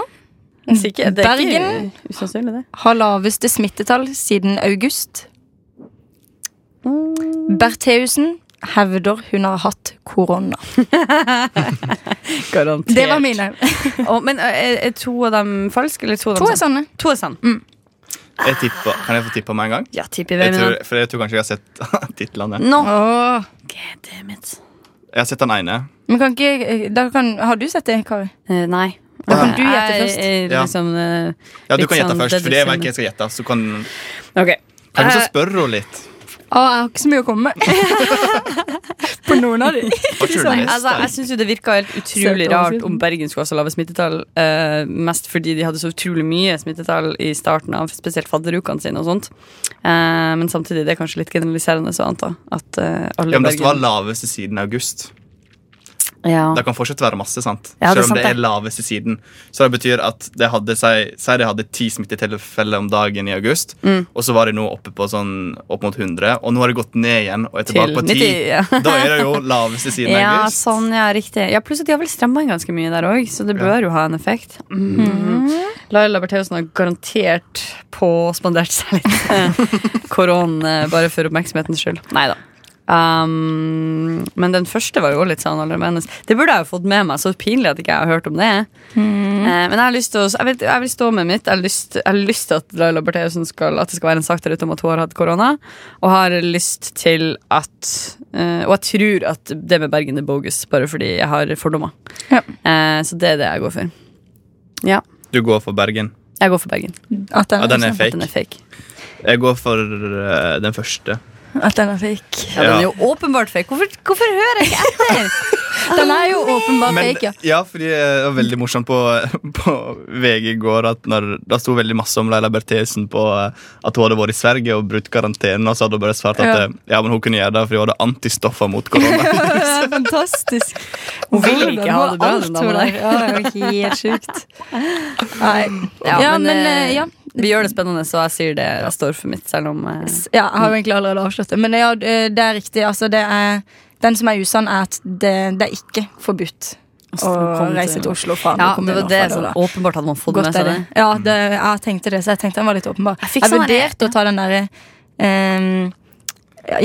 E: Sikker, det er
F: Mm. Bergen.
E: ikke usannsynlig, det.
F: Har laveste smittetall siden august. Mm. Bertheussen hevder hun har hatt korona.
E: Garantert.
F: Det var mine.
E: men eh, er, er to av dem falske, eller to av dem
F: To er sanne.
E: To er sann.
G: Jeg tipper, kan jeg få tippa med en gang?
E: Ja, tipper hvem
G: Jeg
E: er
G: tror, for jeg tror kanskje jeg har sett titlene.
E: Nå!
F: Åh.
E: Goddammit.
G: Jeg har sett den ene.
F: eh, Men kan ikke, da kan, har du sett det, Kari?
E: Eh, nei.
F: Da kan du gjette
E: Jeg-
F: først.
E: jeg
G: Ja.
E: Liksom, eh,
G: Ja, du
E: Litt
G: kan gjette
E: sånn
G: først, for det
E: deduction.
G: vet ikke jeg skal gjette. Så kan,
E: ok.
G: kan vi
E: Eh,
G: også spørre henne litt?
F: Å, jeg har ikke så mye å komme med. På noen av de.
G: Har ikke du
E: Nei,
G: lest
E: altså,
G: den?
E: jeg synes jo Det virka helt utrolig
F: Søkt
E: rart
F: overskriften.
E: om Bergen skulle ha så lave smittetall. eh, mest fordi de hadde så utrolig mye smittetall i starten av spesielt fadderukene sine. og sånt Eh, Men samtidig det er kanskje litt generaliserende å anta at eh, alle
G: Ja, men det
E: Bergen
G: står laveste siden august.
E: ja.
G: Det kan fortsatt være masse, sant?
E: Ja, det er
G: Selv om
E: sant,
G: det er
E: det.
G: laveste siden. Så det betyr at det hadde, si, si de hadde ti smittetilfeller om dagen i august,
E: Mm.
G: og så var de nå oppe på sånn opp mot 100, og nå har det gått ned igjen og er tilbake
E: Til
G: på 10.
E: 90, ja.
G: Da er det jo laveste siden
E: Ja,
G: august.
E: sånn, ja, riktig. Ja, Pluss at de har vel stramma inn ganske mye der òg, så det bør jo ha en effekt. Mm. Laila Bertheussen har garantert påspandert seg litt korona bare for oppmerksomhetens skyld. Nei da. Um, men den første var jo også litt sånn alarmerende. Det burde jeg jo fått med meg. Så pinlig at ikke jeg har hørt om det. Eh, men jeg har lyst til å jeg vil, jeg vil stå med mitt. Jeg har lyst, jeg har lyst til at Laila Bertheussen skal At det skal være en sak der ute om at hun har hatt korona. Og har lyst til at eh, Og jeg tror at det med Bergen er bogus, bare fordi jeg har fordommer.
F: Ja.
E: Eh, så det er det jeg går for. Ja,
G: Du går for Bergen.
E: jeg går for Bergen.
F: At den,
G: Ja, den er
E: At Den
G: fake.
E: er fake.
G: Jeg går for eh, den første.
F: At den er fake.
E: Ja, den
G: Ja.
E: er jo åpenbart fake. Hvorfor, hvorfor hører jeg ikke etter?
F: Den er jo åpenbart
G: Men,
F: fake, ja.
G: ja, fordi eh, det var veldig morsomt på, på VG i går at når, det sto veldig masse om Leila Bertheussen på eh, at hun hadde vært i Sverige og brutt karantenen, og så hadde hun bare svart at
F: Ja.
G: eh, ja, men hun kunne gjøre det fordi hun hadde antistoffer mot korona.
F: Det er fantastisk.
E: Hun vil ikke ha det bra,
F: Alt
E: den dama
F: hun
E: der.
F: har- Ja, det er jo helt sjukt. Nei.
E: Ja,
F: Ja,
E: men,
F: men,
E: eh,
F: eh, ja.
E: Vi gjør det spennende, så jeg sier det. Jeg står for mitt, selv om eh,
F: ja. Jeg har jo egentlig allerede avslørt det. Men ja, eh, det er riktig. Altså, det er, den som er usann, er at det, det er ikke forbudt
E: Altså,
F: å
E: kom til-
F: reise til Oslo
E: Ja,
F: fra andre
E: det
F: kommuner.
E: var det
F: fra
E: som
F: da.
E: åpenbart hadde man fått
F: Godt
E: med
F: er
E: seg.
F: det.
E: det
F: Ja, det, jeg tenkte det, så jeg tenkte den var litt åpenbar.
E: Jeg
F: Jeg,
E: fikk sånn der-
F: vurderte å ta den derre ehm,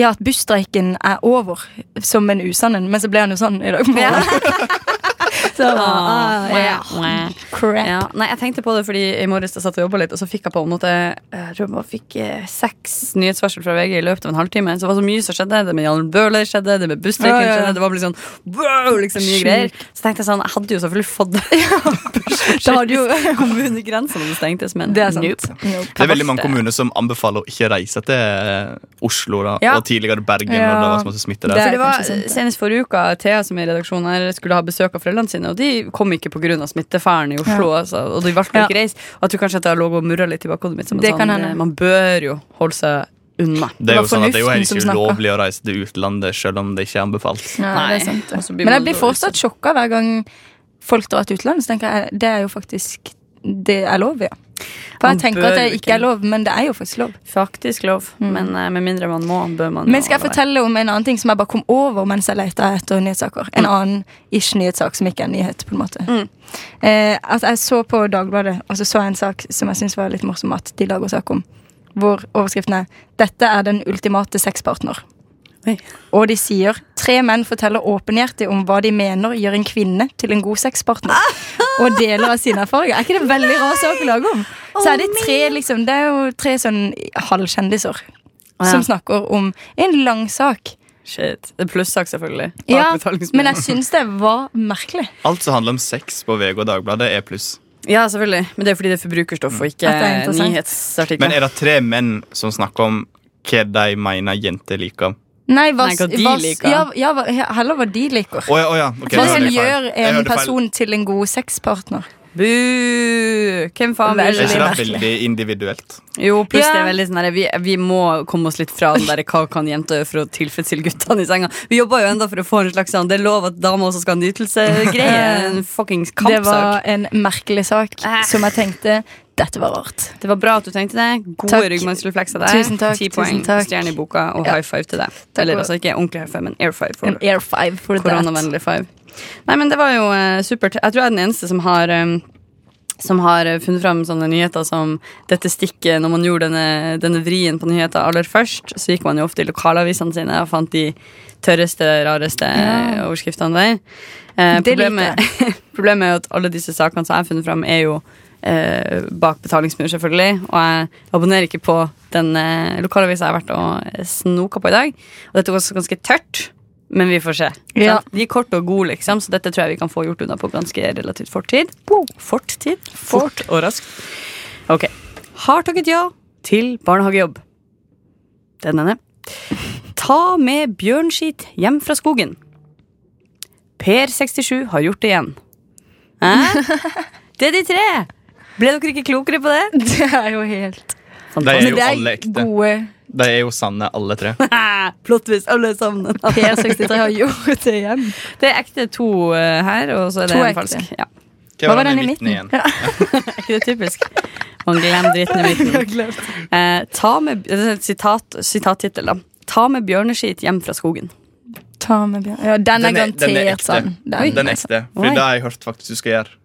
F: Ja, at busstreiken er over som en usann en, men så ble han jo sånn i dag morgen. så jeg bare, ah, ja. Crap.
E: Ja, nei, jeg tenkte på det fordi i morges jeg satt og jobba litt, og så fikk jeg på en måte Jeg tror jeg bare fikk eh, seks nyhetsvarsel fra VG i løpet av en halvtime. Så det var så mye som skjedde. Det med Jan Bøhler skjedde, det med busstreiken
F: Ja, ja, ja.
E: skjedde. Det var bare sånn wow, liksom mye
F: Sjukt.
E: greier. Så tenkte jeg sånn, jeg hadde jo selvfølgelig fått det.
F: Da hadde jo
E: Kommunegrensene hadde stengtes, men
F: Det er sant.
E: nope.
F: Nope.
G: Det er
E: Jeg
G: veldig mange
E: valgte-
G: kommuner som anbefaler å ikke reise til eh, Oslo da,
E: Ja.
G: og tidligere Bergen
F: Ja.
G: når det var så masse smitte
E: For
G: der.
F: Det er
E: det var
F: kanskje sant, det.
E: Senest forrige uke Thea som er i redaksjonen her skulle ha besøk av foreldrene sine, og de kom ikke pga. smittefaren i Oslo. Altså, og de valgte å ikke reise. Og jeg tror kanskje at jeg lå og murra litt i bakhodet mitt. Som en
F: Det kan
E: sånn,
F: hende.
E: eh, man bør jo holde seg unna.
G: Det er
F: var
G: jo sånn at det er jo
F: fornuften
G: helt
F: som
G: ikke
F: snakker.
G: ulovlig å reise til utlandet selv om det ikke er anbefalt.
F: Ja, det er sant,
E: Og så
F: det.
E: blir
F: Men
E: man
F: jeg blir
E: dårlig
F: fortsatt sjokka hver gang folk drar til utlandet. Så tenker jeg, Det er jo faktisk Det er lov, ja. For
E: Man
F: jeg tenker
E: bør
F: at det
E: jo ikke-
F: ikke er lov, men det er jo faktisk lov.
E: Faktisk lov, men eh, med mindre man må, bør man
F: Men
E: jo la
F: skal jeg
E: være.
F: fortelle om en annen ting som jeg bare kom over mens jeg lette etter nyhetssaker? En annen ish-nyhetssak som ikke er en nyhet, på en måte. Eh, altså, jeg så på Dagbladet, og så så jeg en sak som jeg syns var litt morsom at de lager sak om. Hvor overskriften er 'Dette er den ultimate sexpartner'.
E: Oi.
F: Og de sier 'Tre menn forteller åpenhjertig om hva de mener gjør en kvinne til en god sexpartner'.
E: Ah!
F: Og deler av sine erfaringer. Er ikke det veldig rar sak å lage om? Så er det tre, liksom, det er jo tre sånn halvkjendiser
E: Å, ja.
F: som snakker om en lang sak.
E: Shit. Det er plussak, selvfølgelig.
F: Ja,
E: Bakbetalingsplanen.
F: men jeg syns det var merkelig.
G: Alt som handler om sex på VG og Dagbladet, er pluss.
E: ja, selvfølgelig. Men det er fordi det er forbrukerstoff og ikke
F: Mm. At det er interessant.
E: nyhetsartikler.
G: Men er det tre menn som snakker om hva de mener jenter liker?
F: Nei, hva,
E: Nei, hva de
F: hva,
E: liker.
F: ja, ja, hva- heller hva de liker.
G: Å ja, å ja. ok,
F: Hva
G: jeg
F: som
G: hørte feil.
F: gjør eh,
G: Jeg
F: en
G: hørte feil.
F: person til en god sexpartner.
E: Bu! Hvem faen vil
G: Er
F: Veldig
G: ikke
E: det?
G: det veldig individuelt?
E: Jo, pluss
F: Ja.
E: det er veldig sånn her, vi, vi må komme oss litt fra den der hva kan jenter gjøre for å tilfredsstille guttene i senga. Vi jobber jo enda for å få en slags sånn det er lov at damer også skal ha nytelsegreie. En fuckings
F: Det
E: kampsak. Ah.
F: var en merkelig sak som jeg tenkte dette var rart.
E: bra at du tenkte det. Gode
F: Takk.
E: ryggmargsreflekser der.
F: Tusen takk,
E: Ti
F: tusen
E: poeng,
F: takk.
E: stjerne i boka og
F: Ja.
E: high five til deg.
F: Takk
E: Eller
F: for-
E: altså ikke ordentlig high five, men air five.
F: En
E: For
F: air five for that.
E: koronavennlig five. Nei, men det var jo eh, supert. Jeg tror jeg er den eneste som har eh, som har eh, funnet fram sånne nyheter som dette stikket Når man gjorde denne, denne vrien på nyheter aller først, så gikk man jo ofte i lokalavisene sine og fant de tørreste, rareste eh, overskriftene der. Eh,
F: Det liker
E: problemet, problemet er jo at alle disse sakene som jeg har funnet fram, er jo eh, bak betalingsmur, selvfølgelig. Og jeg abonnerer ikke eh, på den eh, lokalavisa jeg har vært og snoka på i dag. Og dette var også ganske tørt. Men vi får se.
F: Ja.
E: Sant? De er korte og gode, liksom, så dette tror jeg vi kan få gjort unna på ganske relativt fort tid. Fort tid? Fort og raskt. Ok. Har takket ja til barnehagejobb. Den ene. Ta med bjørnskit hjem fra skogen. Per67 har gjort det igjen. Hæ? Det er de tre! Ble dere ikke klokere på det?
F: Det er jo helt
G: De er
F: Men
G: jo
F: det
G: alle
F: er
G: ekte.
F: gode
G: De er jo sanne, alle tre.
E: Flott hvis alle sammen.
F: P63 har gjort det igjen.
E: Det er ekte to eh, her, og så er det
F: To
E: en
F: ekte.
E: falsk. Ja.
G: Hva var den i midten igjen?
F: Ja.
E: Er ikke det typisk? Man glemmer dritten i midten. Eh, ta med, det er et sitat, sitattittel, da. Ta med bjørneskit hjem fra skogen.
F: Ta med bjørn. Ja, den er
G: Den er- den er
F: garantert
G: ekte.
F: sann.
G: Den ekte. Fordi
E: Oi.
G: det har jeg hørt faktisk du skal gjøre.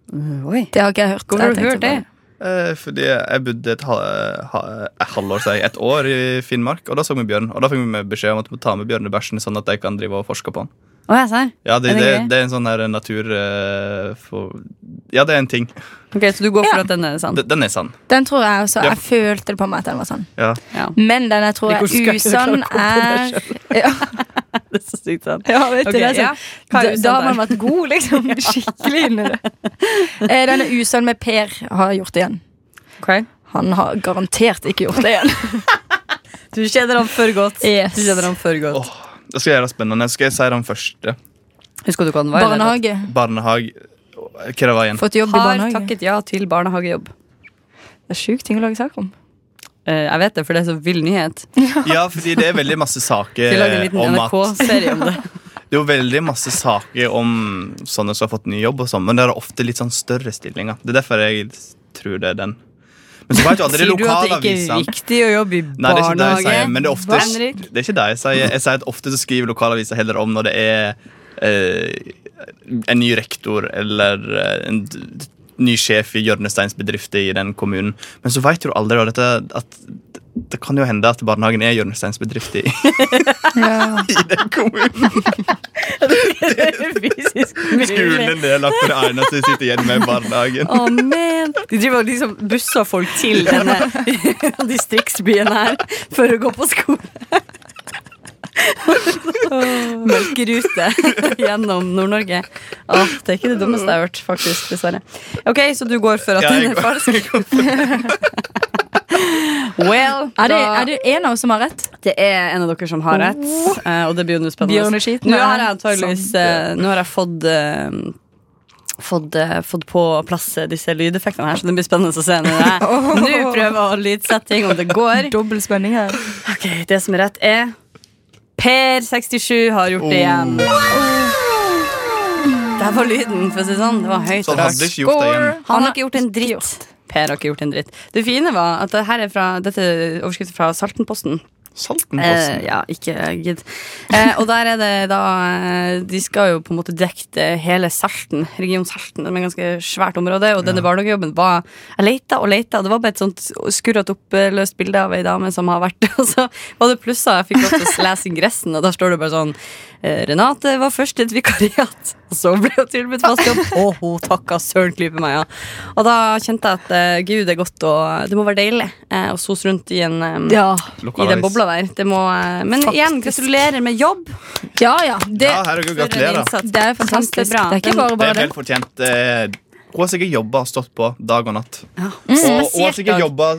E: Oi.
F: Det har ikke jeg hørt. så
E: Hvor har
F: jeg
E: du
F: tenkte
E: hørt det?
F: bare-
G: Eh, Fordi jeg bodde et ha, ha, eh, halvår, sier jeg, et år i Finnmark, og da så vi bjørn. Og da fikk vi beskjed om at vi må ta med bjørnebæsjen, sånn at de kan drive og forske på den.
E: Å, jeg ser.
G: Ja, det,
E: Er det
G: det,
E: gøy?
G: det er en sånn her natur... eh, for, ja, det er en ting.
E: Ok, Så du går for
F: Ja.
E: at den er sann?
G: Den, den er sann.
F: Den tror jeg også.
G: Ja.
F: Jeg følte det på meg at den var sann.
G: Ja.
E: Ja.
F: Men den jeg tror
E: Hvor skal
F: er
E: jeg klare å
F: usann,
E: komme
F: er ja,
E: Det er så sykt sant.
F: ja, vet du,
E: Ok,
F: det er sånn.
E: ja. Hva er
F: Da, da har
E: usann
F: man vært god, liksom. Skikkelig inni det. Eh, Denne usann med Per har gjort det igjen.
E: Ok.
F: Han har garantert ikke gjort det igjen.
E: Du kjenner han for godt.
F: Yes.
E: Du kjenner han for godt.
G: Åh, Det skal jeg gjøre spennende. Skal jeg si den første?
E: Husker du hva den var? eller?
F: Barnehage.
G: Barnehage Hva det var igjen?
F: Fått jobb i
E: Har
F: barnehage.
E: takket ja til barnehagejobb.
F: Det er sjukt ting å lage sak om.
E: Eh, jeg vet det, for det er så vill nyhet.
G: Ja, fordi det er veldig masse
E: Vi
G: saker
E: lager en liten
G: Eh, om at
E: NRK-serie om det.
G: Det er jo veldig masse saker om sånne som har fått ny jobb, og sånn, men det er ofte litt sånn større stillinger. Det er derfor jeg tror det er den. Men så vet du aldri
E: Sier du at det ikke er
G: lokalavisene.
E: viktig å jobbe i
G: Nei, det er ikke det jeg
E: barnehage?
G: sier, men det er ofte
E: Henrik?
G: Det er ikke det jeg sier. Jeg sier at ofte så skriver lokalaviser heller om når det er eh, en ny rektor eller eh, en d- ny sjef i hjørnesteinsbedrifter i den kommunen. Men så vet du aldri da, dette, at det kan jo hende at barnehagen er hjørnesteinsbedrift i, i den kommunen.
E: Det er fysisk mulig.
G: Skolen er lagt på det eneste jeg sitter igjen med i barnehagen.
E: Å, men. De driver og liksom busser folk til denne distriktsbyen her for å gå på skole. Melkerute gjennom Nord-Norge. Å, det er ikke det dummeste jeg har hørt, faktisk. Dessverre. Ok, Så du går for at
G: Ja, jeg
E: den er
G: går-
E: falsk? Well,
F: Er det,
E: da-
F: er det en av oss som har rett?
E: det er en av dere som har rett, eh, og det blir jo nå spennende.
F: Bjørneskiten
E: Nå
F: er
E: har jeg antageligvis eh, Nå har jeg fått eh, Fått, eh, fått på plass eh, disse lydeffektene her, så det blir spennende å se. Når jeg nå prøver å lydsette ting om det går.
F: Dobbel spenning her.
E: Ok, Det som er rett, er Per67 har gjort det igjen. Der var lyden, for å si det sånn. Det var høyt
G: Så
E: og
G: han
E: rart.
G: hadde ikke gjort det igjen.
E: Han har ikke gjort en dritt. Per har ikke gjort en dritt. Det fine var at det her er fra, dette er overskriften fra Saltenposten.
G: Saltenposten.
E: Eh, ja, ikke gidd. Eh, og der er det da eh, De skal jo på en måte dekke det hele Salten, region Salten, med ganske svært område. Og denne barnehagejobben var Jeg leita og leita, og det var bare et sånt skurrete opp eh, løst bilde av ei dame som har vært Og så var det plusser. Jeg fikk lov til å lese ingressen, og da står det bare sånn eh, Renate var først i et vikariat, og så ble hun tilbudt fast jobb, og hun takka søren klype meg, ja. Og da kjente jeg at eh, gud, det er godt og Det må være deilig eh, å sose rundt i en eh,
F: Ja.
E: i den
G: Lokalavis.
E: bobla der. Det må, eh, men igjen, gratulerer med jobb.
F: ja, ja. Det,
G: Ja, herregud,
E: for en
G: gratulerer.
E: innsats.
F: det er fantastisk. Det
E: Kjempebra.
F: er ikke bare
G: Det
F: bare
G: er
F: det.
G: vel fortjent. Eh, Hun har sikkert jobba og stått på dag og natt.
E: Ja. mm,
G: Og hun har
E: Spesielt
G: sikkert
E: dag.
G: jobba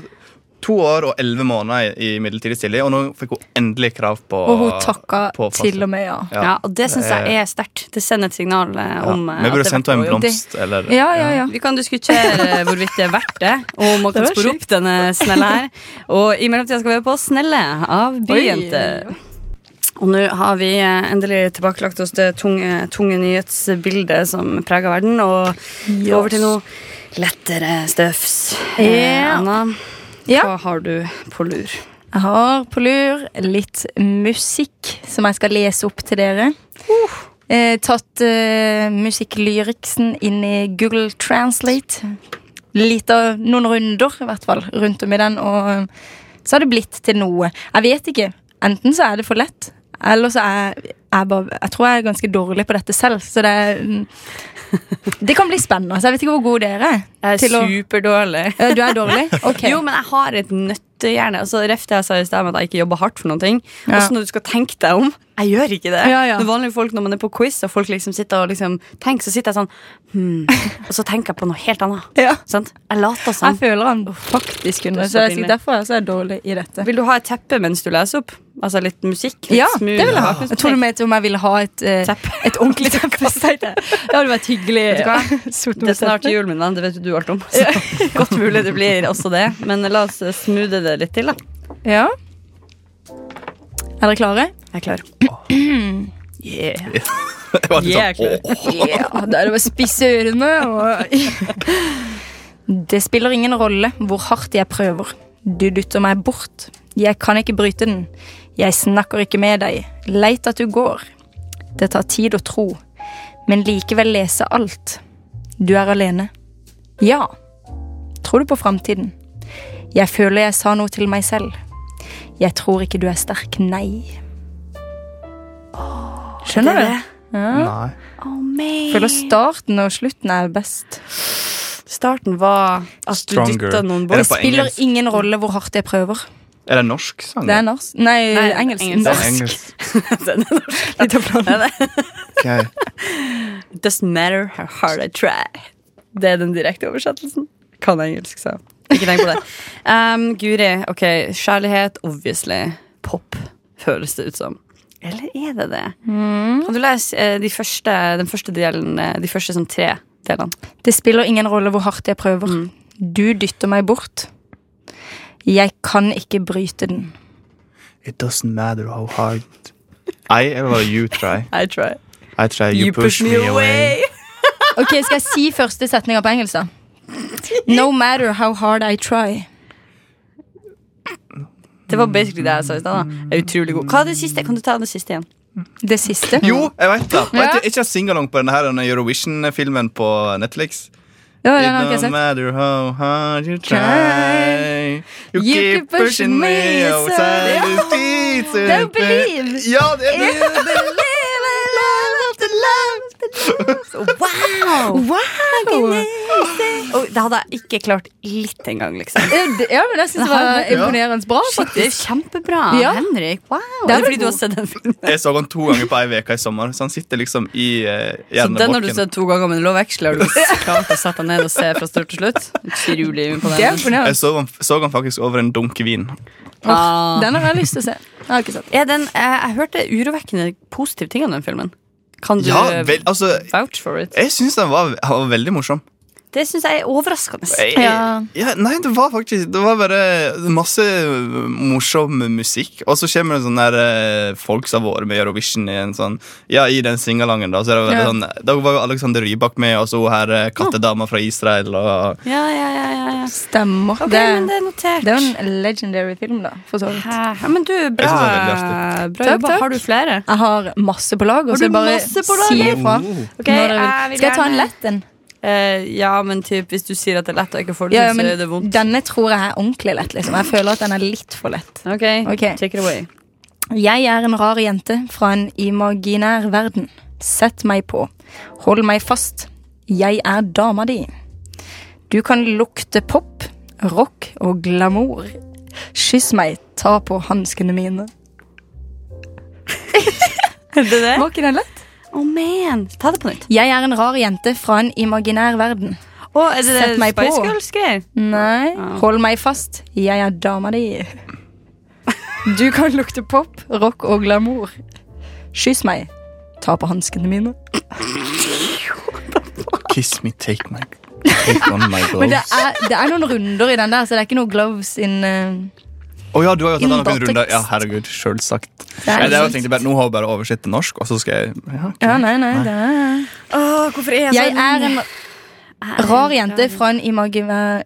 G: to år og elleve måneder i i midlertidig stilling, og nå fikk hun endelig krav på
F: Og hun takka
G: på fast-
F: til og med ja.
E: Ja, og det syns jeg er sterkt. Det sender et signal eh,
G: Ja.
E: om eh,
G: Vi
E: at
G: burde
E: det er
G: sendt henne
E: verdt å
G: en
E: jobbe.
G: blomst. Eller,
F: Ja, ja, ja.
E: Vi kan diskutere eh, hvorvidt det er verdt det, og om man kan
F: Det var
E: spore opp denne snelle her. Og i mellomtida skal vi høre på Snelle av Byjente. Og nå har vi eh, endelig tilbakelagt oss det tunge, tunge nyhetsbildet som preger verden, og over til noe lettere støvs. Eh,
F: Ja.
E: Anna,
F: Ja.
E: hva har du på lur?
F: Jeg har på lur litt musikk som jeg skal lese opp til dere.
E: Uh.
F: Eh, tatt eh, musikklyriksen inn i Google Translate. Litt av noen runder i hvert fall rundt om i den, og eh, så har det blitt til noe. Jeg vet ikke. Enten så er det for lett, eller så er jeg, jeg bare Jeg tror jeg er ganske dårlig på dette selv, så det er mm. Det kan bli spennende. Så jeg vet ikke hvor gode dere er.
E: Jeg er
F: Til å-
E: superdårlig.
F: Eh, Du er dårlig? Ok.
E: Jo, men jeg har et nøttehjerne. Altså, Ref det jeg sa i sted om at jeg ikke jobber hardt for noen ting.
F: Ja.
E: Også når du skal tenke deg om, Jeg gjør ikke det.
F: Ja, ja.
E: Når vanlige folk, når man er på quiz, og folk liksom sitter og liksom tenker, så sitter jeg sånn hmm. Og så tenker jeg på noe helt annet.
F: Ja.
E: Sant? Jeg later
F: Jeg
E: sånn.
F: føler han faktisk
E: det
F: kunne
E: er
F: Så
E: så
F: det er sikkert
E: pinlig.
F: derfor jeg så er dårlig i dette.
E: Vil du ha et teppe mens du leser opp? Altså litt musikk? Litt
F: Ja,
E: smooth
F: det vil jeg ha.
E: bakgrunnsmusikk?
F: Jeg tror du mente om jeg ville ha et, eh,
E: Teppe.
F: et ordentlig teppe. så tenkte jeg, Det hadde vært hyggelig.
E: Vet du hva?
F: Sort
E: Det er snart jul, min venn. Det vet jo du alt om. Så godt mulig det blir også det. Men la oss smoothe det litt til, da.
F: Ja. Er dere klare?
E: Jeg er klar.
G: Jeg var litt
E: Yeah,
G: sånn,
E: jeg er
G: åh,
F: Ja, det er det å spisse ørene og Det spiller ingen rolle hvor hardt jeg prøver. Du dytter meg bort. Jeg kan ikke bryte den. Jeg snakker ikke med deg. Leit at du går. Det tar tid å tro, men likevel lese alt. Du er alene. Ja. Tror du på framtiden? Jeg føler jeg sa noe til meg selv. Jeg tror ikke du er sterk, nei. Skjønner du?
G: nei.
F: Føler starten og slutten er best.
E: Starten var at du
G: Stronger.
E: dytta noen
G: Er
E: bort.
G: det på
F: Spiller
G: engelsk?
F: ingen rolle hvor hardt jeg prøver.
G: Er det en norsk sang?
F: Det er norsk. Nei,
E: Nei,
F: engelsk.
E: engelsk.
G: Det er
F: Norsk.
G: engelsk.
E: Den er norsk. Nei, nei.
G: Ok.
E: It doesn't matter how hard I try. Det er den direkte oversettelsen. Kan engelsk, så ikke tenk på det. Um, Guri, ok, kjærlighet, obviously. Pop, føles det ut som. Eller er det det?
G: Mm.
E: Kan du lese eh, de første, den første delen, eh, de første sånn tre delene?
F: Det spiller ingen rolle hvor hardt jeg prøver. Du dytter meg bort. Jeg kan ikke bryte den.
G: It doesn't matter how hard I ever you try.
E: I try.
G: I try, you, push, me away.
F: Ok, Skal jeg si første setninga på engelsk, da? No matter how hard I try.
E: Det var basically det jeg sa i stad. da. Jeg er Utrolig god. Hva er det siste? Kan du ta det siste igjen?
F: Det siste.
G: Jo, jeg vet det! Og
F: Ja.
G: jeg tror ikke jeg singalong på denne, her, denne Eurovision-filmen på Netflix.
F: Ja,
G: It
F: den har ikke jeg
G: don't
F: sett.
G: matter how hard you
F: Try.
G: try You, keep pushing me
F: so-
G: outside the streets
F: Don't believe.
G: Ja, det er det!
E: Wow!
F: Wow!
E: Og det hadde jeg ikke klart litt engang, liksom.
F: Ja, det- Ja, men jeg syns det var imponerende bra. altså.
E: Shit, det er kjempebra.
F: Ja.
E: Henrik, wow.
F: Det
E: Det
F: er
E: er fordi
F: vel
E: du har sett den filmen.
G: Jeg så han to ganger på ei uke i sommer, så han sitter liksom i eh,
E: Så den har du
G: hjerneboken.
E: sett to ganger, men lovveksler har du klart å sette deg ned og se fra start til slutt. Utrolig
F: Det er
E: imponerende.
G: Jeg
F: imponerende.
G: så han, så han faktisk over en dunk vin.
E: Ah.
F: Den har jeg lyst til å se. Jeg har ikke sett.
E: Er den, jeg, jeg hørte urovekkende positive ting om den filmen. Kan du eh,
G: Ja, vel, altså
E: vouch for it?
G: Jeg syns den var, han var veldig morsom.
E: Det syns jeg er overraskende.
G: Jeg,
F: Ja.
G: ja, nei, det var faktisk Det var bare masse morsom musikk. Og så kommer det sånn der eh, folk som har vært med i Eurovision i en sånn Ja, i den singalangen, da. Så er det veldig
F: Ja.
G: sånn, da var jo Alexander Rybak med, og så hun her eh, kattedama fra Israel og
E: Ja, ja, ja, ja, ja.
F: Stemmer.
E: Ok,
F: det,
E: men det er notert.
F: det er jo en legendary film, da. For så vidt.
E: Hæ? Ja, men du, bra,
G: synes det var
E: bra
F: Takk,
E: jobba.
F: takk.
E: Har du flere?
F: Jeg har masse på lag. Og
E: Har
F: så
E: du
F: bare
E: masse på lag?
F: si ifra.
E: Ok,
F: når dere vil.
E: jeg vil
F: Skal jeg ta en
E: gjerne-
F: lett en?
E: Eh, ja, men typ, hvis du sier at det er lett og ikke får det,
F: Ja, ja,
E: til,
F: men
E: så er det vondt.
F: denne tror jeg er ordentlig lett. Liksom. Jeg føler at den er litt for lett.
E: Ok,
F: Ok.
E: take it away.
F: Jeg er en rar jente fra en imaginær verden. Sett meg på. Hold meg fast. Jeg er dama di. Du kan lukte pop, rock og glamour. Kyss meg, ta på hanskene mine.
E: Er det det?
F: Var ikke den lett?
E: Å, man. Ta det på nytt.
F: Jeg er en rar jente fra en imaginær verden.
E: Å, er det
F: Sett
E: det
F: meg på.
E: Spice Girls-greier?
F: Nei.
E: Ah.
F: Hold meg fast. Jeg er dama di. Du kan lukte pop, rock og glamour. Kyss meg. Ta på hanskene mine.
G: Kiss me, take my Take on my
F: Men det
G: gloves. Å
F: er, det er noen runder i den der, så det er ikke noe gloves in uh,
G: ja, du har jo tatt den opp i en
F: Innbatekst.
G: runde. Ja, herregud, sjølsagt.
F: det er
G: Nei, det er jo,
F: sant.
G: tenkte jeg bare, Nå har hun bare oversett til norsk, og så skal jeg ja, ok.
F: Ja, nei, nei, det er
E: Åh, hvorfor er sånn?
F: Jeg Altså, er en rar jente fra en imagi-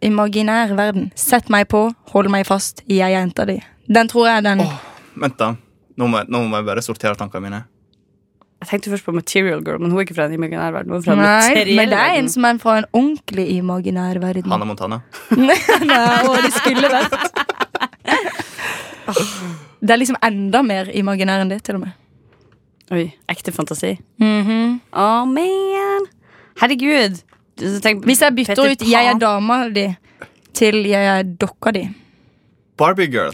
F: imaginær verden. Sett meg på, hold meg fast, jeg er jenta di. Den tror jeg er den.
G: Vent, da. Nå må, jeg- nå må jeg bare sortere tankene mine.
E: Jeg tenkte først på Material Girl, men hun er ikke fra en imaginær verden. Hun er fra en
F: Nei,
E: materiell
F: men det er en
E: verden.
F: som er fra en ordentlig imaginær verden.
G: Hanne Montana.
F: Nei, og det skulle vært Det er liksom enda mer imaginær enn det, til og med.
E: Oi, ekte fantasi.
F: Mhm.
E: Å, man. Herregud. Så Tenk,
F: Hvis jeg bytter
E: Peter
F: ut 'jeg er
E: Pan.
F: dama di' til 'jeg er dokka di',
G: Barbie girl.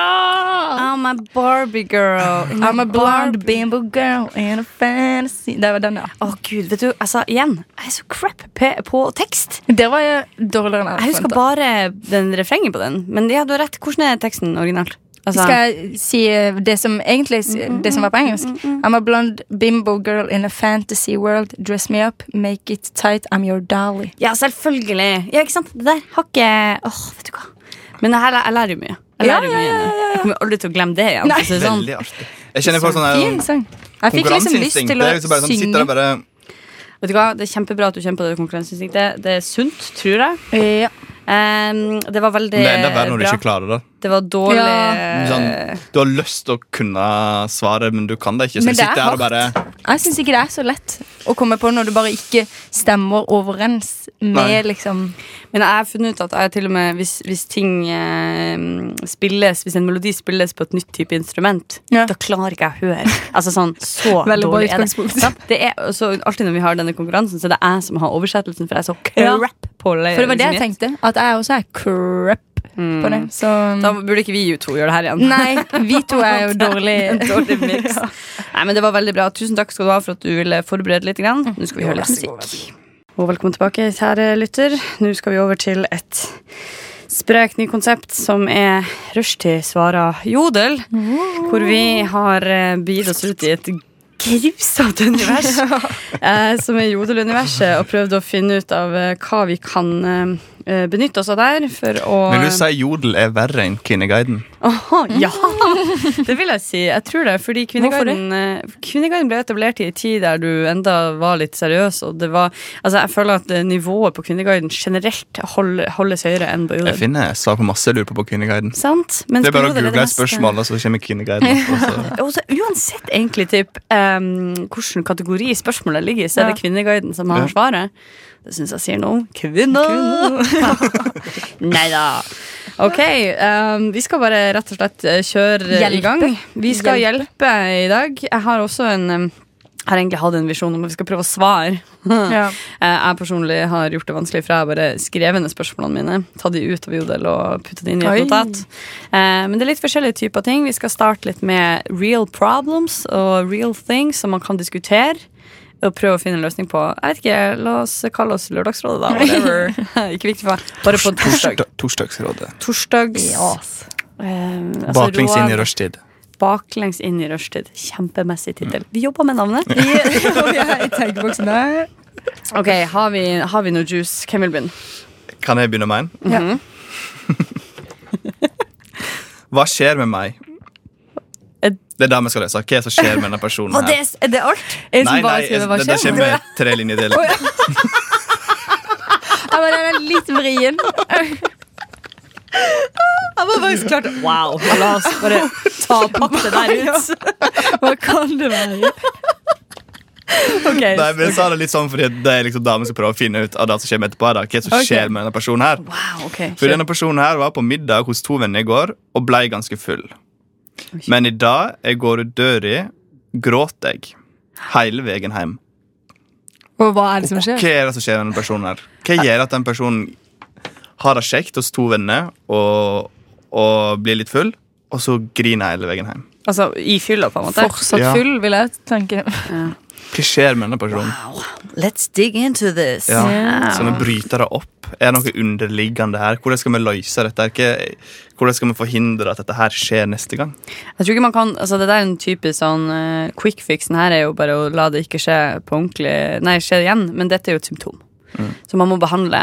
F: Yeah!
E: I'm a Barbie girl.
F: I'm a blonde bimbo girl in a fantasy Det var den, ja.
E: Å gud, vet du, altså igjen, jeg er så crap pe- på tekst.
F: Det var jeg dårligere enn jeg
E: Jeg husker
F: forventet.
E: bare den refrenget på den. Men ja, du har rett. Hvordan er teksten originalt? Altså,
F: Skal jeg si eh, det som egentlig s- Det som var på engelsk? I'm a blonde bimbo girl in a fantasy world. Dress me up, make it tight, I'm your dolly.
E: Ja, selvfølgelig. Ja, ikke sant? Det der har ikke Åh, vet du hva. Men det her, jeg lærer jo mye. Jeg
F: Ja,
E: lærer jo mye. nå. Jeg kommer aldri til å glemme det igjen. for å si det sånn.
G: Veldig artig. Jeg kjenner folk sånn her
F: Fin sang. Jeg fikk liksom lyst
G: konkurranseinstinkt.
F: til
G: Det
F: å
G: er liksom bare sånn, sitter der
F: synge.
G: bare
E: Vet du hva, Det er kjempebra at du kjenner på det konkurranseinstinktet. Det er sunt, tror jeg.
F: Ja.
E: Ehm, det var veldig
G: Det er enda verre når du
E: bra.
G: ikke klarer det.
E: Det var dårlig eh,
F: Ja.
G: Sånn, du har lyst til å kunne svaret, men du kan det ikke. Så
F: Men
G: du
F: det er
G: sitter her og bare
F: Jeg syns ikke det er så lett å komme på når du bare ikke stemmer overens med
G: Nei.
F: liksom
E: Men jeg har funnet ut at jeg til og med hvis, hvis ting eh, spilles Hvis en melodi spilles på et nytt type instrument,
F: Ja.
E: da klarer ikke jeg å høre. Altså sånn, Så
F: Veldig bra
E: dårlig er det.
F: utgangspunkt.
E: Sant? det er, og så alltid når vi har denne konkurransen, så er det jeg som har oversettelsen, for jeg er så
F: Ja.
E: crap på le-
F: For det var det jeg
E: liksom,
F: tenkte. At jeg også er crap på det. Så
E: Da burde ikke vi to gjøre det her igjen.
F: Nei, vi to er jo
E: En
F: dårlige.
E: dårlig mix. Nei, men Det var veldig bra. Tusen takk skal du ha for at du ville forberede litt. Grann. Nå skal vi høre litt musikk. Og velkommen tilbake, kjære lytter. Nå skal vi over til et sprekt nytt konsept som er Rushtid svarer Jodel. Hvor vi har eh, begitt oss ut i et grusomt univers, eh, som er Jodel-universet, og prøvd å finne ut av eh, hva vi kan eh, benytte oss av der for å
G: Vil du si jodel er verre enn Kvinneguiden?
E: Aha, ja! Det vil jeg si. Jeg tror det, fordi Kvinneguiden, eh, Kvinneguiden ble etablert i en tid der du enda var litt seriøs. Og det var, altså jeg føler at eh, nivået på Kvinneguiden generelt hold, holdes høyere enn på
G: Jeg
E: Jodel.
G: finner svar på masse jeg lurer på på Kvinneguiden.
E: Sant? Mens
G: Det er bare
E: på
G: å
E: Jodel
G: google et
E: meste-
G: spørsmål, og så kommer Kvinneguiden. opp, Og så.
E: Og så uansett egentlig typ, em, hvilken kategori spørsmålet ligger i, så er det Kvinneguiden som har
G: Ja.
E: svaret. Det syns jeg sier noe om kvinner! Nei da. Ok, em, vi skal bare rett og slett eh, kjøre eh, i
F: Hjelpe.
E: gang. Vi skal hjelpe. i dag. Jeg har også en em, jeg har egentlig hatt en visjon om at vi skal prøve å svare.
F: Ja.
E: Eh, Jeg personlig har gjort det vanskelig, for jeg har bare skrevet ned spørsmålene mine. Tatt de ut av Jodel og puttet det inn i et
F: Oi.
E: notat. Eh, Men det er litt forskjellige typer ting. Vi skal starte litt med real problems og real things som man kan diskutere. Og prøve å finne en løsning på Jeg vet ikke, La oss kalle oss Lørdagsrådet, da. Whatever. ikke viktig for meg. Bare på en torsdag.
G: Torsdag- Torsdagsrådet.
E: Torsdags eh, altså
G: Baklengs inn i
E: råd-
G: rushtid.
E: Baklengs inn i rushtid. Kjempemessig tittel.
G: Mm.
E: Vi jobber med navnet. Ok, har vi, har vi noe juice? Hvem vil begynne?
G: Kan jeg begynne med en? Hva skjer med meg? Det er det vi skal løse. Hva er det som skjer med denne personen? her?
E: er det alt?
G: Nei, nei, jeg, det, det kommer med tre linjer til.
F: Ja, men den er litt vrien.
E: Jeg var faktisk klart Wow, la oss bare ta og pakke det der ut. Hva kan det være? Ok,
G: Nei, men jeg sa det litt sånn fordi det er liksom damen skal prøve å finne ut av det som kommer etterpå. her, Da. Hva er det som
E: Ok.
G: skjer med denne personen her?
E: Wow, ok
G: For denne personen her var på middag hos to venner i går og blei ganske full. Men i dag jeg går ut døra, gråter jeg hele veien hjem.
F: Og hva er det som
G: Hva
F: skjer?
G: er det som skjer med denne personen her? Hva gjør at den personen har det kjekt hos to venner og, og blir litt full, og så griner hele veien hjem?
E: Altså, i fylla, på en måte.
F: Fortsatt
G: Ja.
F: full, vil jeg tenke.
G: Hva skjer med denne personen?
E: Let's dig into this.
G: Ja. Sånn. Så vi bryter det opp. Er det noe underliggende her? Hvordan skal vi løse dette? her? Hva- Hvordan skal vi forhindre at dette her skjer neste gang?
E: Jeg tror ikke man kan, altså Det der er en typisk sånn eh, quick fixen her er jo bare å la det ikke skje på ordentlig Nei, skje igjen, men dette er jo et symptom. Så man må behandle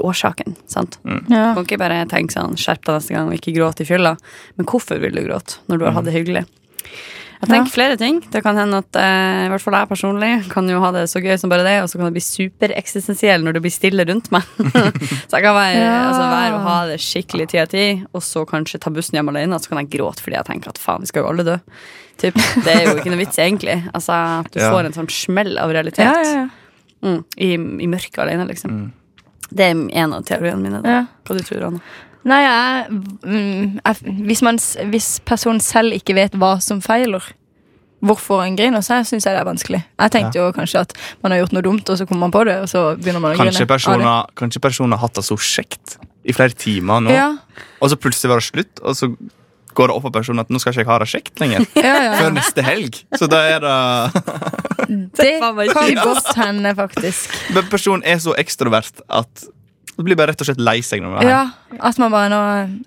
E: årsaken. sant?
F: Ja.
E: Du kan ikke bare tenke sånn, skjerp deg neste gang og ikke gråt i fylla. Men hvorfor vil du gråte når du har hatt det hyggelig? Jeg tenker flere ting. Det kan hende at eh, i hvert fall jeg personlig kan jo ha det så gøy som bare det, og så kan jeg bli supereksistensiell når det blir stille rundt meg. så jeg kan være,
F: Ja.
E: altså, være og ha det skikkelig ti av ti, og så kanskje ta bussen hjem alene, og så kan jeg gråte fordi jeg tenker at faen, vi skal jo alle dø. Typ. Det er jo ikke noe vits, egentlig. Altså, at du
G: Ja.
E: får en sånn smell av realitet
F: Ja, ja, ja.
E: Mm, i, i mørket alene, liksom. Det er en av teoriene mine. Da.
F: Ja.
E: Hva du tror Anna?
F: Nei, jeg, mm, jeg, hvis, man, s- hvis personen selv ikke vet hva som feiler, hvorfor en griner, så syns jeg det er vanskelig. Jeg tenkte jo kanskje at man har gjort noe dumt, og så kommer man på det, og så begynner man å
G: Kanskje
F: grine. av det.
G: personer, kanskje personer har hatt det så kjekt i flere timer nå,
F: Ja,
G: og så plutselig var det slutt, og så går det opp for personen at nå skal ikke jeg ha det kjekt lenger.
F: ja, ja.
G: Før neste helg. Så da er det
F: Det
E: var meg.
F: kan godt hende, faktisk.
G: Men personen er så ekstrovert at du blir bare rett og slett lei seg når du er her.
F: Ja, At man bare nå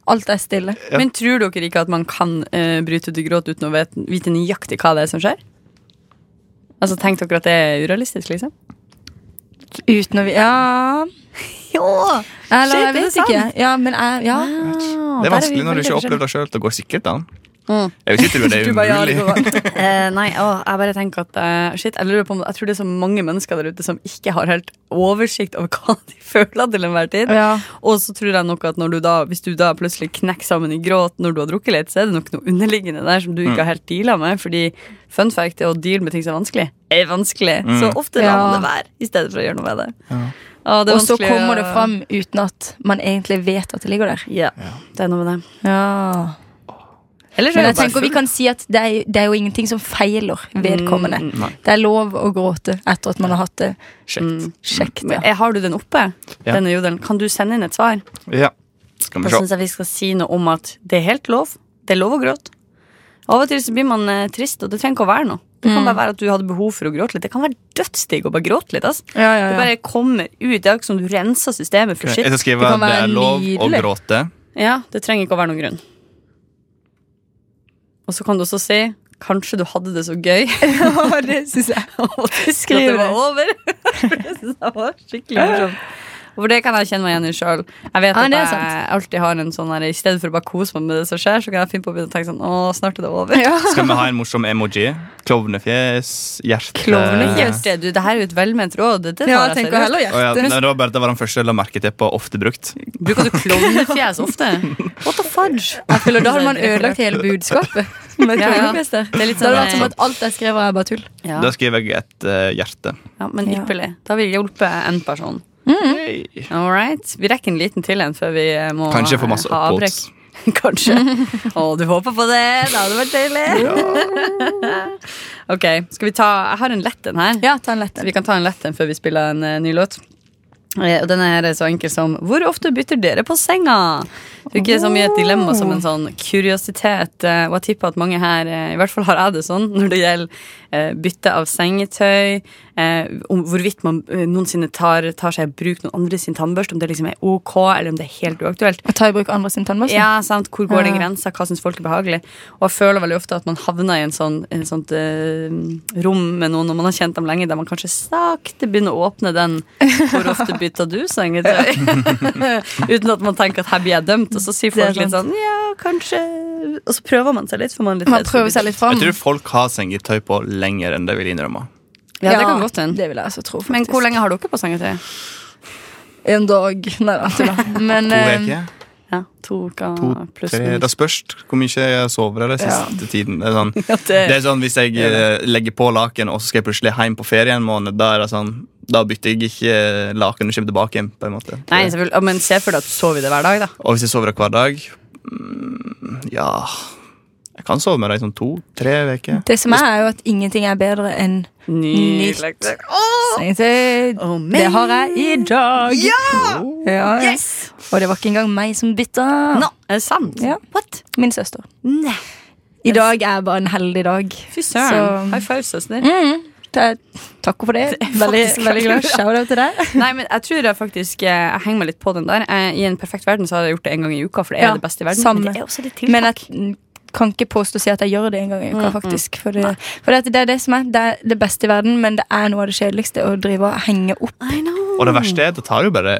F: Alt er stille.
G: Ja.
E: Men tror dere ikke at man kan eh, bryte ut i gråt uten å vet, vite nøyaktig hva det er som skjer? Altså, Tenk dere at det er urealistisk, liksom?
F: Uten å vi... Ja
E: Shit,
F: Eller jeg
E: er det
F: vet
E: sant? Ah.
F: ikke. Ja, men jeg Ja.
G: Det er vanskelig når du ikke har opplevd det sjøl. Det går sikkert an.
E: Mm.
G: Jeg vil ikke tro det er
E: Du bare, ja, det
G: umulig.
E: går bra. Eh, nei, å, jeg bare tenker at eh, Shit, jeg lurer på om Jeg tror det er så mange mennesker der ute som ikke har helt oversikt over hva de føler til enhver tid.
F: ja.
E: Og så tror jeg nok at når du da, hvis du da plutselig knekker sammen i gråt når du har drukket litt, så er det nok noe underliggende der som du
F: Mm.
E: ikke har helt deala med. Fordi fun fact er å deale med ting som er vanskelig. Er vanskelig. Så ofte lar man
F: Mm. Ja.
E: det være i stedet for å gjøre noe med det. Å, det er
F: Og så
E: vanskelig å-
F: kommer det fram uten at man egentlig vet at det ligger der.
E: Ja, det er noe med det.
F: Ja
E: Eller så
F: Men
E: er
F: jeg
E: det Mm,
F: tenker vi kan si at det er, det er jo ingenting som feiler vedkommende. Det er lov å gråte etter at man har hatt det
G: Kjekt.
F: kjekt.
E: Men
F: Ja.
E: eh, Har du den oppe?
G: Ja.
E: Denne jodelen? Kan du sende inn et svar?
G: Ja. Skal
E: Da
G: vi se.
E: syns jeg vi skal si noe om at det er helt lov. Det er lov å gråte. Av og til så blir man eh, trist, og det trenger ikke å være noe. Det
G: Mm.
E: kan bare være at du hadde behov for å gråte litt. Det kan være dødsdigg å bare gråte litt. ass.
F: Ja, ja,
E: Det
F: ja.
E: bare kommer ut. Det er ikke som du renser systemet for
G: Jeg
E: shit.
G: skal skrive
F: Det kan
G: 'det
F: være
G: er lov å
F: nydelig.
G: gråte'.
E: Ja, Det trenger ikke å være noen grunn. Og så kan du også si Kanskje du hadde det så gøy.
F: Ja, det synes jeg.
E: Og du skriver det var over. For det synes jeg var skikkelig morsomt. Og For det kan jeg kjenne meg igjen i sjøl. Jeg vet
F: Ja,
E: at
F: det er
E: jeg alltid har en sånn her I stedet for å bare kose meg med det som skjer, så kan jeg finne på å begynne å tenke sånn Å, snart er det over.
G: Skal vi ha en morsom emoji? Klovnefjes, hjerte
E: Klovnefjes. Det, du, det her er jo et velment råd. Det tar
F: Ja, jeg
E: jeg
F: tenker
E: seriøst.
F: heller
G: Å ja,
F: hjerte.
G: nei, det var bare det var den første jeg la merke til på ofte brukt.
E: Bruker du klovnefjes ofte? What the fudge?
F: Jeg føler Da hadde man ødelagt hele budskapet. Med
E: Ja, ja.
F: kronefester.
E: Det er litt
F: Da hadde det vært
E: sånn,
F: som at alt jeg skrev, er bare tull.
E: ja.
G: Da skriver jeg et eh, hjerte.
E: ja, Men ypperlig. Da har vi hjulpet en person. All right. Vi rekker en liten til en før vi eh, må
G: Kanskje jeg får masse
E: ha avbrekk.
G: upvotes.
E: Kanskje. Å, du håper på det? Det hadde vært deilig. ok, skal vi ta Jeg har en lett en her.
F: Ja, ta en
E: Så
F: lette.
E: vi kan ta en lett en før vi spiller en eh, ny låt. Eh, Og den er så enkel som Hvor ofte bytter dere på senga? Det er ikke så mye et dilemma som en sånn kuriositet. eh, Og jeg tipper at mange her, eh, i hvert fall har jeg det sånn når det gjelder eh, bytte av sengetøy, eh, om hvorvidt man eh, noensinne tar, tar seg i bruk noen andre sin tannbørste, om det liksom er ok, eller om det er helt uaktuelt.
F: Å ta i bruk andre sin tannbørste?
E: Ja, sant. Hvor går den
F: Ja.
E: grensa? Hva syns folk er behagelig? Og jeg føler veldig ofte at man havner i en sånn, en sånt eh, rom med noen når man har kjent dem lenge, der man kanskje sakte begynner å åpne den 'Hvor ofte bytter du sengetøy?' Uten at man tenker at her blir jeg dømt, og så sier
F: Det er
E: folk litt sånn
F: sant.
E: 'ja, kanskje' Og så prøver man seg litt, for man er litt
F: Man prøver seg litt fram.
G: Jeg tror folk har sengetøy på lenger enn det vil innrømme.
E: Ja, det kan godt hende.
F: Det vil jeg altså tro.
E: Men
F: faktisk.
E: hvor lenge har dere på sengetøy?
F: En dag. Nei da, tulla. Men
G: To
F: eh,
G: uker?
E: Ja, to uker
G: To,
E: pluss
G: tre
E: minus.
G: Det spørs hvor mye jeg sover den siste tiden. Det er sånn,
E: Ja,
G: det
E: det-
G: er sånn Hvis jeg eh, legger på laken, og så skal jeg plutselig hjem på ferie en måned, da er det sånn Da bytter jeg ikke eh, laken og kommer tilbake igjen. på en måte
E: Nei, selvfølgelig. Ja, Men se for deg at du sover i det hver dag, da.
G: Og hvis jeg sover hver dag mm, Ja Jeg kan sove med deg i sånn to-tre uker.
F: det som er, er jo at ingenting er bedre enn Nytt. sengetøy.
E: Oh,
F: Det har jeg i dag. Ja, ja. Og det var ikke engang meg som bytta.
E: Nå, er det sant?
F: Ja.
E: What?
F: Min søster.
E: Nei.
F: I dag er bare en heldig dag.
E: Fy søren.
F: Så- Mm.
E: High altså. five, søster.
F: Ta- Takk for det. Veldig,
E: faktisk
F: veldig glad.
E: veldig bra.
F: Shout out til deg.
E: Nei, men jeg tror jeg faktisk eh, Jeg henger meg litt på den der. Eh, I en perfekt verden så hadde jeg gjort det en gang i uka, for det er
F: Ja,
E: det beste i verden.
F: samme.
E: Men det er også litt Mm,
F: Men
E: tiltak.
F: jeg kan ikke påstå å si at jeg gjør det en gang i uka, faktisk. For, det, for det, at det er det som er det, er det beste i verden, men det er noe av det kjedeligste å drive og henge opp.
E: I know.
G: Og det verste er at det tar jo bare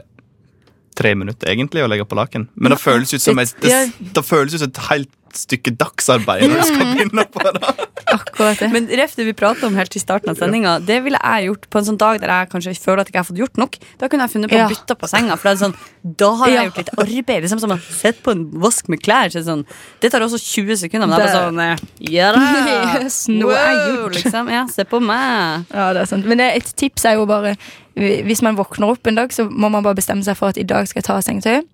G: tre minutter egentlig å legge på laken. Men det føles ut som et, det, det føles ut som et helt stykke dagsarbeid når du
F: Mm.
G: skal begynne på det.
F: Akkurat det.
E: Men ref det vi pratet om helt i starten av sendinga, det ville jeg gjort på en sånn dag der jeg kanskje føler at jeg ikke har fått gjort nok. Da kunne jeg funnet på å
F: Ja.
E: bytte på senga. For da, er det sånn, da har jeg
F: Ja.
E: gjort litt arbeid. Liksom som å sette på en vask med klær. Så er det sånn, det tar også 20 sekunder, men det er bare sånn eh, Ja da!
F: Yes, nå er jeg gjort.
E: Liksom. Ja, se på meg.
F: Ja, det er sant. Men det, et tips er jo bare hvi- Hvis man våkner opp en dag, så må man bare bestemme seg for at i dag skal jeg ta sengetøy.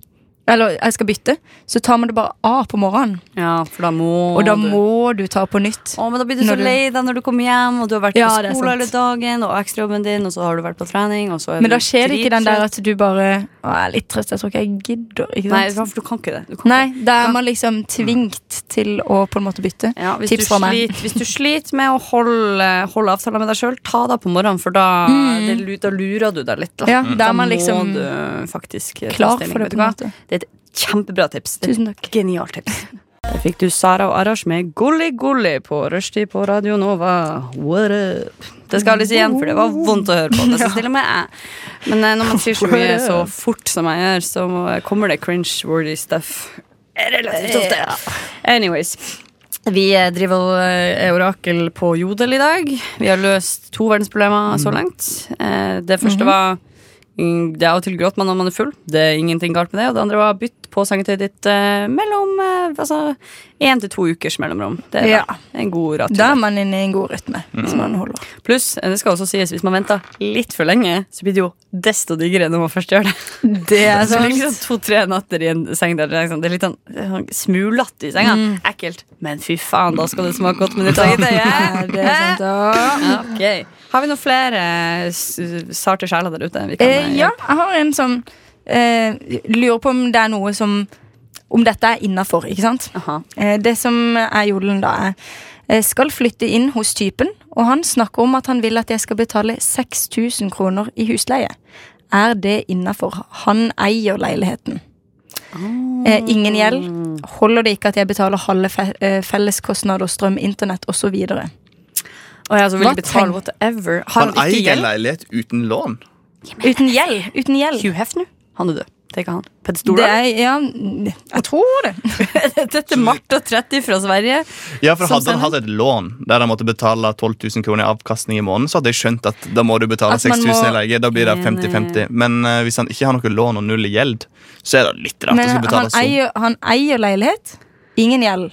F: Eller jeg skal bytte, så tar man det bare av på morgenen.
E: Ja, for da må
F: Og da
E: du-
F: må du ta på nytt.
E: Å, men da blir du så
F: Når du-
E: lei deg når du kommer hjem, og du har vært
F: Ja, det
E: på
F: er
E: skolen
F: sant.
E: hele dagen, og ekstrajobben din, og så har du vært på trening, og så er
F: Men da
E: du
F: skjer det ikke den der
E: drittrøtt.
F: at du bare Å, jeg er litt trøtt, jeg tror ikke jeg gidder. Ikke
E: Nei,
F: sant?
E: for du kan ikke det. Du kan
F: Nei, da er man liksom tvingt til å på en måte bytte.
E: Ja, hvis, du
F: Tips fra meg.
E: sliter, hvis du sliter med å holde, holde avtaler med deg sjøl, ta deg på morgenen, for da, det, lu- da lurer du deg litt. Da,
F: Mm. Ja, da er man liksom
E: må du eh, faktisk ta
F: Klar
E: stilling,
F: for det,
E: vet
F: på
E: du
F: en
E: hva?
F: måte.
E: Det er et kjempebra tips. Det er
F: Tusen takk.
E: et genialt tips. Der fikk du Sara og Arash med Golli Golli på rushtid på Radio Nova. What up? Det skal alles igjen, for det var vondt å høre på. Det skal stille med jeg. Men eh, når man sier så mye så fort som jeg gjør, så kommer det cringe-wordy stuff. Relativt ofte. Anyways. Vi eh, driver og eh, er orakel på Jodel i dag. Vi har løst to verdensproblemer
F: Mm.
E: så langt. Eh, Det første
F: Mhm.
E: var mm, Det er av og til gråter man når man er full. Det er ingenting galt med det. Og det andre var bytt på sengetøyet ditt eh, mellom eh, altså, én til to ukers mellomrom. Det er
F: Ja.
E: bra. Det er en god
F: Da
E: ratio.
F: er man inne i en god rytme. Hvis
E: Mm.
F: man holder.
E: Pluss, eh, det skal også sies, hvis man venter litt for lenge, så blir det jo desto diggere når man først gjør det.
F: Det er
E: Så
F: sant.
E: ligger det to-tre natter i en seng der det er liksom- det er litt sånn, sånn smulete i senga. Ekkelt. Men fy faen, da skal det smake godt med ditt eget
F: Mm. Ja, det er sant,
E: øye.
F: da.
E: Ja, ok. Har vi noen flere eh, s- sarte sjeler der ute? Vi kan,
F: Eh,
E: eh,
F: ja, jeg har en som eh, lurer på om det er noe som Om dette er innafor, ikke sant?
E: Aha.
F: Eh, det som er jodelen da, er eh, Skal flytte inn hos typen, og han snakker om at han vil at jeg skal betale 6000 kroner i husleie. Er det innafor? Han eier leiligheten. Eh, ingen gjeld. Holder det ikke at jeg betaler halve fe eh, felleskostnader, strøm, internett osv.?
E: Og jeg altså så vil
F: Hva
E: jeg betale
F: tenk-
E: whatever. Har
G: Han
E: han ikke
G: eier en
E: gjeld?
G: leilighet uten lån.
E: altså-
F: Uten gjeld! Uten gjeld.
E: Hugh Hefner? Han er død. Det er ikke han. Peder
F: Det
E: Stordalen?
F: er, ja, jeg tror det.
E: Dette er Martha 30 fra Sverige.
G: Ja, for
E: Som
G: Hadde han
E: sender.
G: hatt et lån der han måtte betale 12 000 kroner i avkastning i måneden, så hadde jeg skjønt at da må du betale
F: At man
G: 6000 i
F: må-
G: leie. Da blir det 50-50. Men eh, hvis han ikke har noe lån og null i gjeld, så er det litt rart å
F: Men
G: skulle
F: han
G: betale sånn? så
F: eier, han eier leilighet, ingen gjeld.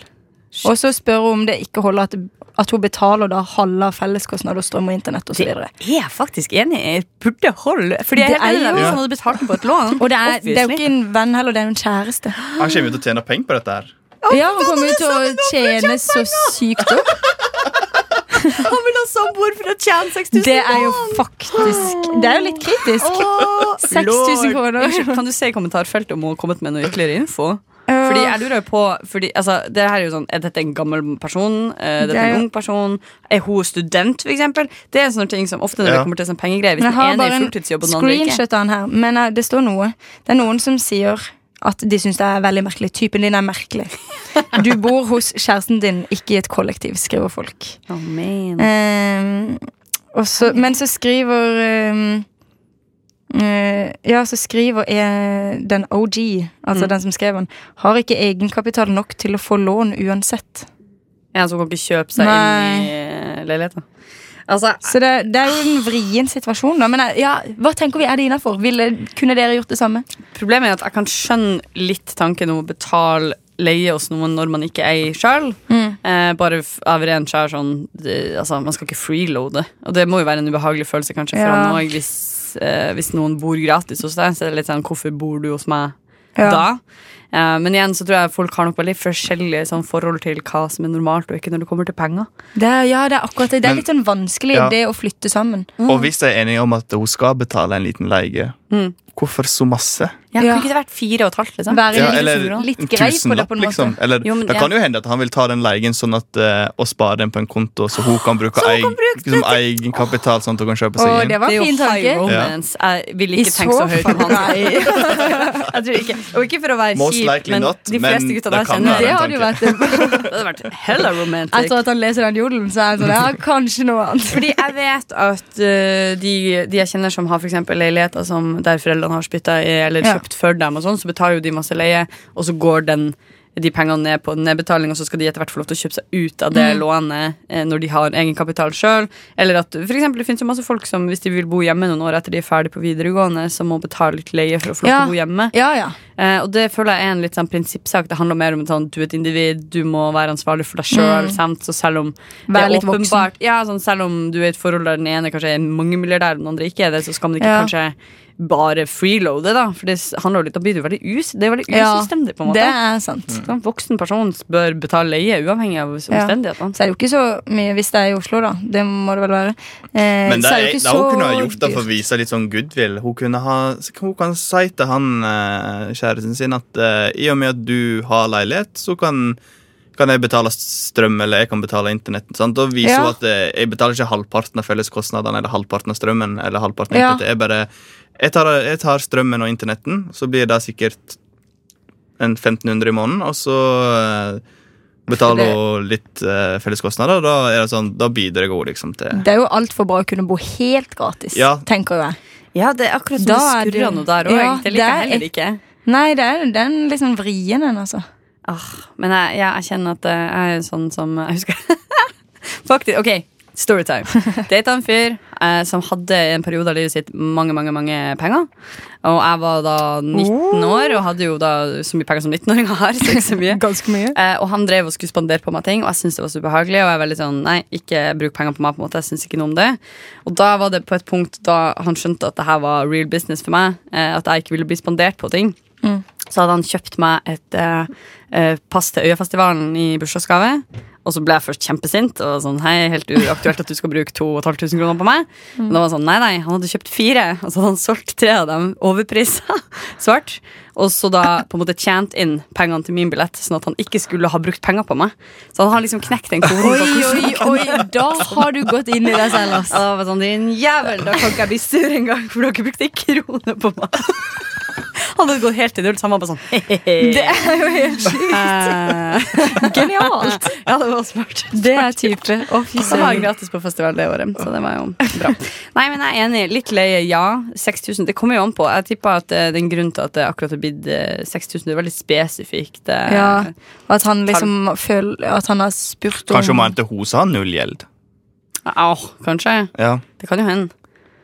F: Og så spør hun om det ikke holder at, at hun betaler da halve av felleskostnader, strøm og internett osv.
E: Jeg er faktisk enig. Jeg burde holde Fordi jeg er
F: Det
E: helt enig
F: er
E: med deg, hvis
F: jo-
E: han hadde betalt den på et lån.
F: Og det er, det er jo
E: obviously.
F: ikke en venn heller, det er jo en kjæreste.
G: sånn. Han kommer jo til å tjene penger på dette her.
F: Ja, Hun kommer jo til å tjene så sykt opp.
E: Han vil ha samboer for å tjene 6000
F: Det er jo faktisk Det er jo litt kritisk. 6000 kroner.
E: Unnskyld, kan du se i kommentarfeltet om hun har kommet med noe ytterligere info? Fordi jeg lurer jo på fordi, altså, det her Er jo sånn, er dette en gammel person? Er dette
F: Det er
E: en
F: jo-
E: ung person? Er hun student, for eksempel? Det er sånne ting som ofte når det
G: Ja.
E: kommer til sånn pengegreier. Hvis den
F: Men jeg har
E: ene er
F: bare en
E: fulltidsjobb og den andre ikke.
F: screenshot av den her, men eh, det står noe. Det er noen som sier at de syns det er veldig merkelig. Typen din er merkelig. Du bor hos kjæresten din, ikke i et kollektiv, skriver folk.
E: Oh, man.
F: Ehm, og så, men så skriver ehm, eh, Ja, så skriver eh, den OG,
E: Mm.
F: altså den som skrev den, har ikke egenkapital nok til å få lån uansett.
E: Ja, så hun kan ikke kjøpe seg inn i eh, leiligheten. Altså,
F: Så det, det er jo en vrien situasjon, da. Men eh, ja, hva tenker vi er det innafor? Kunne dere gjort det samme?
E: Problemet er at jeg kan skjønne litt tanken om å betale leie hos noen når man ikke eier sjøl.
F: Mm.
E: Eh, bare f- av ren skjær sånn det, Altså, man skal ikke freeloade. Og det må jo være en ubehagelig følelse, kanskje, for
F: Ja.
E: han òg. Hvis, eh, hvis noen bor gratis hos deg, så er det litt sånn Hvorfor bor du hos meg
F: Ja.
E: da? Eh, men igjen så tror jeg folk har nok veldig forskjellige sånn, forhold til hva som er normalt og ikke når det kommer til penger.
F: Det er, ja, det er akkurat det. Det er
G: Men-
F: litt sånn vanskelig,
G: Ja.
F: det å flytte sammen.
G: Og hvis de er enige om at hun skal betale en liten leie, hvorfor så masse?
E: Ja, Kunne
F: Ja.
E: ikke det vært fire og et halvt, liksom?
F: Være
G: Ja,
F: litt,
G: eller
F: litt grei på det,
G: tusenlapp,
F: på en måte.
G: liksom. Eller,
E: Jo, men
G: det
E: ja.
G: kan jo hende at han vil ta den leien sånn at, eh, og spare den på en konto, så hun kan bruke egen, liksom, egenkapital, sånn at hun kan kjøpe
F: Å,
G: seg inn.
F: det var
E: Det er jo
F: en fin tanke.
E: high romance. Jeg vil
F: I
E: ikke tenke så
F: så
E: høyt om han. Jeg tror ikke, og ikke for å være
G: Most
E: kjip,
G: likely
E: men
G: not,
E: de fleste
G: men
E: guttene
G: det
E: jeg
G: kan
E: kjenner, det
G: være en
E: har
G: tanke.
E: jo vært Det hadde vært hella romantic.
F: Etter at han leser den jodelen, så er jeg sånn Ja, kanskje noe annet.
E: Fordi Altså, jeg vet at eh, de, de jeg kjenner som har for eksempel leiligheter som der foreldrene har spytta i eller
F: Ja.
E: kjøpt for dem, og sånn, så betaler jo de masse leie, og så går den de pengene ned på nedbetaling, og så skal de etter hvert få lov til å kjøpe seg ut av det lånet eh, når de har egenkapital sjøl. Eller at for eksempel, det finnes jo masse folk som hvis de vil bo hjemme noen år etter de er ferdig på videregående, så må betale litt leie for å få lov til
F: Ja.
E: å bo hjemme.
F: Ja, ja.
E: Eh, Eh, og det føler jeg er en litt sånn prinsippsak. Det handler mer om sånn, du er et individ, du må være ansvarlig for deg sjøl. Så selv om det
F: Vær
E: er
F: Mm. litt voksen.
E: åpenbart ja, sånn, Selv om du er i et forhold der den ene kanskje er mangemilliardær, den andre ikke er det, så skal man ikke
F: Ja.
E: kanskje bare freeloade, da. For det s- handler jo litt, da blir du veldig us det er veldig
F: Ja,
E: usystemdig, på en måte.
F: Det er
G: Mm.
F: sant.
E: Så En voksen person bør betale leie uavhengig av omstendighetene.
F: Så er det jo ikke så mye hvis det er i Oslo, da. Det må det vel være. Eh,
G: Men det
F: så
G: er,
F: jo ikke
G: det hun kunne ha
F: så
G: gjort det for å
F: dyrt.
G: vise litt sånn goodwill. Hun, kunne ha, hun kan si til han eh, kjæresten sin at eh, i og med at du har leilighet, så kan, kan jeg betale strøm, eller jeg kan betale internett. Sant? Da viser
F: Ja.
G: hun at eh, jeg betaler ikke halvparten av felleskostnadene eller halvparten av strømmen. eller halvparten av
F: Ja.
G: internettet. Jeg bare, jeg tar, jeg tar strømmen og internetten, så blir det sikkert en 1500 i måneden, og så eh, betaler
F: Det-
G: hun litt eh, felleskostnader. Da, er det sånn, da bidrar jeg òg liksom til
F: Det er jo altfor bra å kunne bo helt gratis,
G: Ja.
F: tenker jo jeg.
E: Ja, det er akkurat
F: Da er
E: det skurrer
F: det-
E: noe der òg.
F: Ja,
E: det liker jeg
F: det er-
E: heller ikke.
F: Nei, det er den litt sånn vrien en, altså.
E: Ah, men jeg, ja, jeg kjenner at eh, jeg er sånn som Jeg husker Faktisk, ok, storytime Data en fyr eh, som hadde i en periode av livet sitt Mange, mange, mange penger Og jeg var da 19
F: Oh.
E: år Og hadde jo da så mye penger som 19-åringer har Så ikke så mye
F: Ganske mye.
E: Eh, og han drev og skulle spandere på meg ting, og jeg syntes det var så ubehagelig. Og jeg er veldig sånn, nei, ikke bruk penger på meg, på en måte, jeg syns ikke noe om det. Og da var det på et punkt da han skjønte at det her var real business for meg, eh, at jeg ikke ville bli spandert på ting.
F: Mm.
E: Så hadde han kjøpt meg et eh, eh, pass til Øyafestivalen i bursdagsgave. Og så ble jeg først kjempesint. Og sånn, hei, helt uaktuelt at du skal bruke 2500 kroner på meg.
F: Mm.
E: Men da var det sånn, nei, nei, han hadde kjøpt fire, og så hadde han solgt tre av dem overprisa svart. Og så da på en måte tjent inn pengene til min billett, sånn at han ikke skulle ha brukt penger på meg. Så han har liksom knekt den koden. på
F: Oi,
E: hvordan-
F: oi, oi, da har du gått inn i deg selv,
E: Og da var jeg sånn, din jævel, da kan ikke jeg bli sur engang, for dere brukte en krone på meg. Han hadde gått helt til null, så han var bare sånn, hehehe.
F: Det er jo helt sjukt. Genialt.
E: Ja, det var smart.
F: Det er type. Å, fy
E: Så var jeg
F: søren.
E: gratis på festival det året, så det var jo bra. Nei, men jeg er enig. Litt leie, ja. 6000. Det kommer jo an på. Jeg tipper at eh, det er en grunn til at det akkurat har blitt eh, 6000. Det er veldig spesifikt. eh.
F: Ja, og at han liksom føler At han har spurt om
G: Kanskje hun mente hun sa nullgjeld.
E: Au, kanskje.
G: Ja.
E: Det kan jo hende.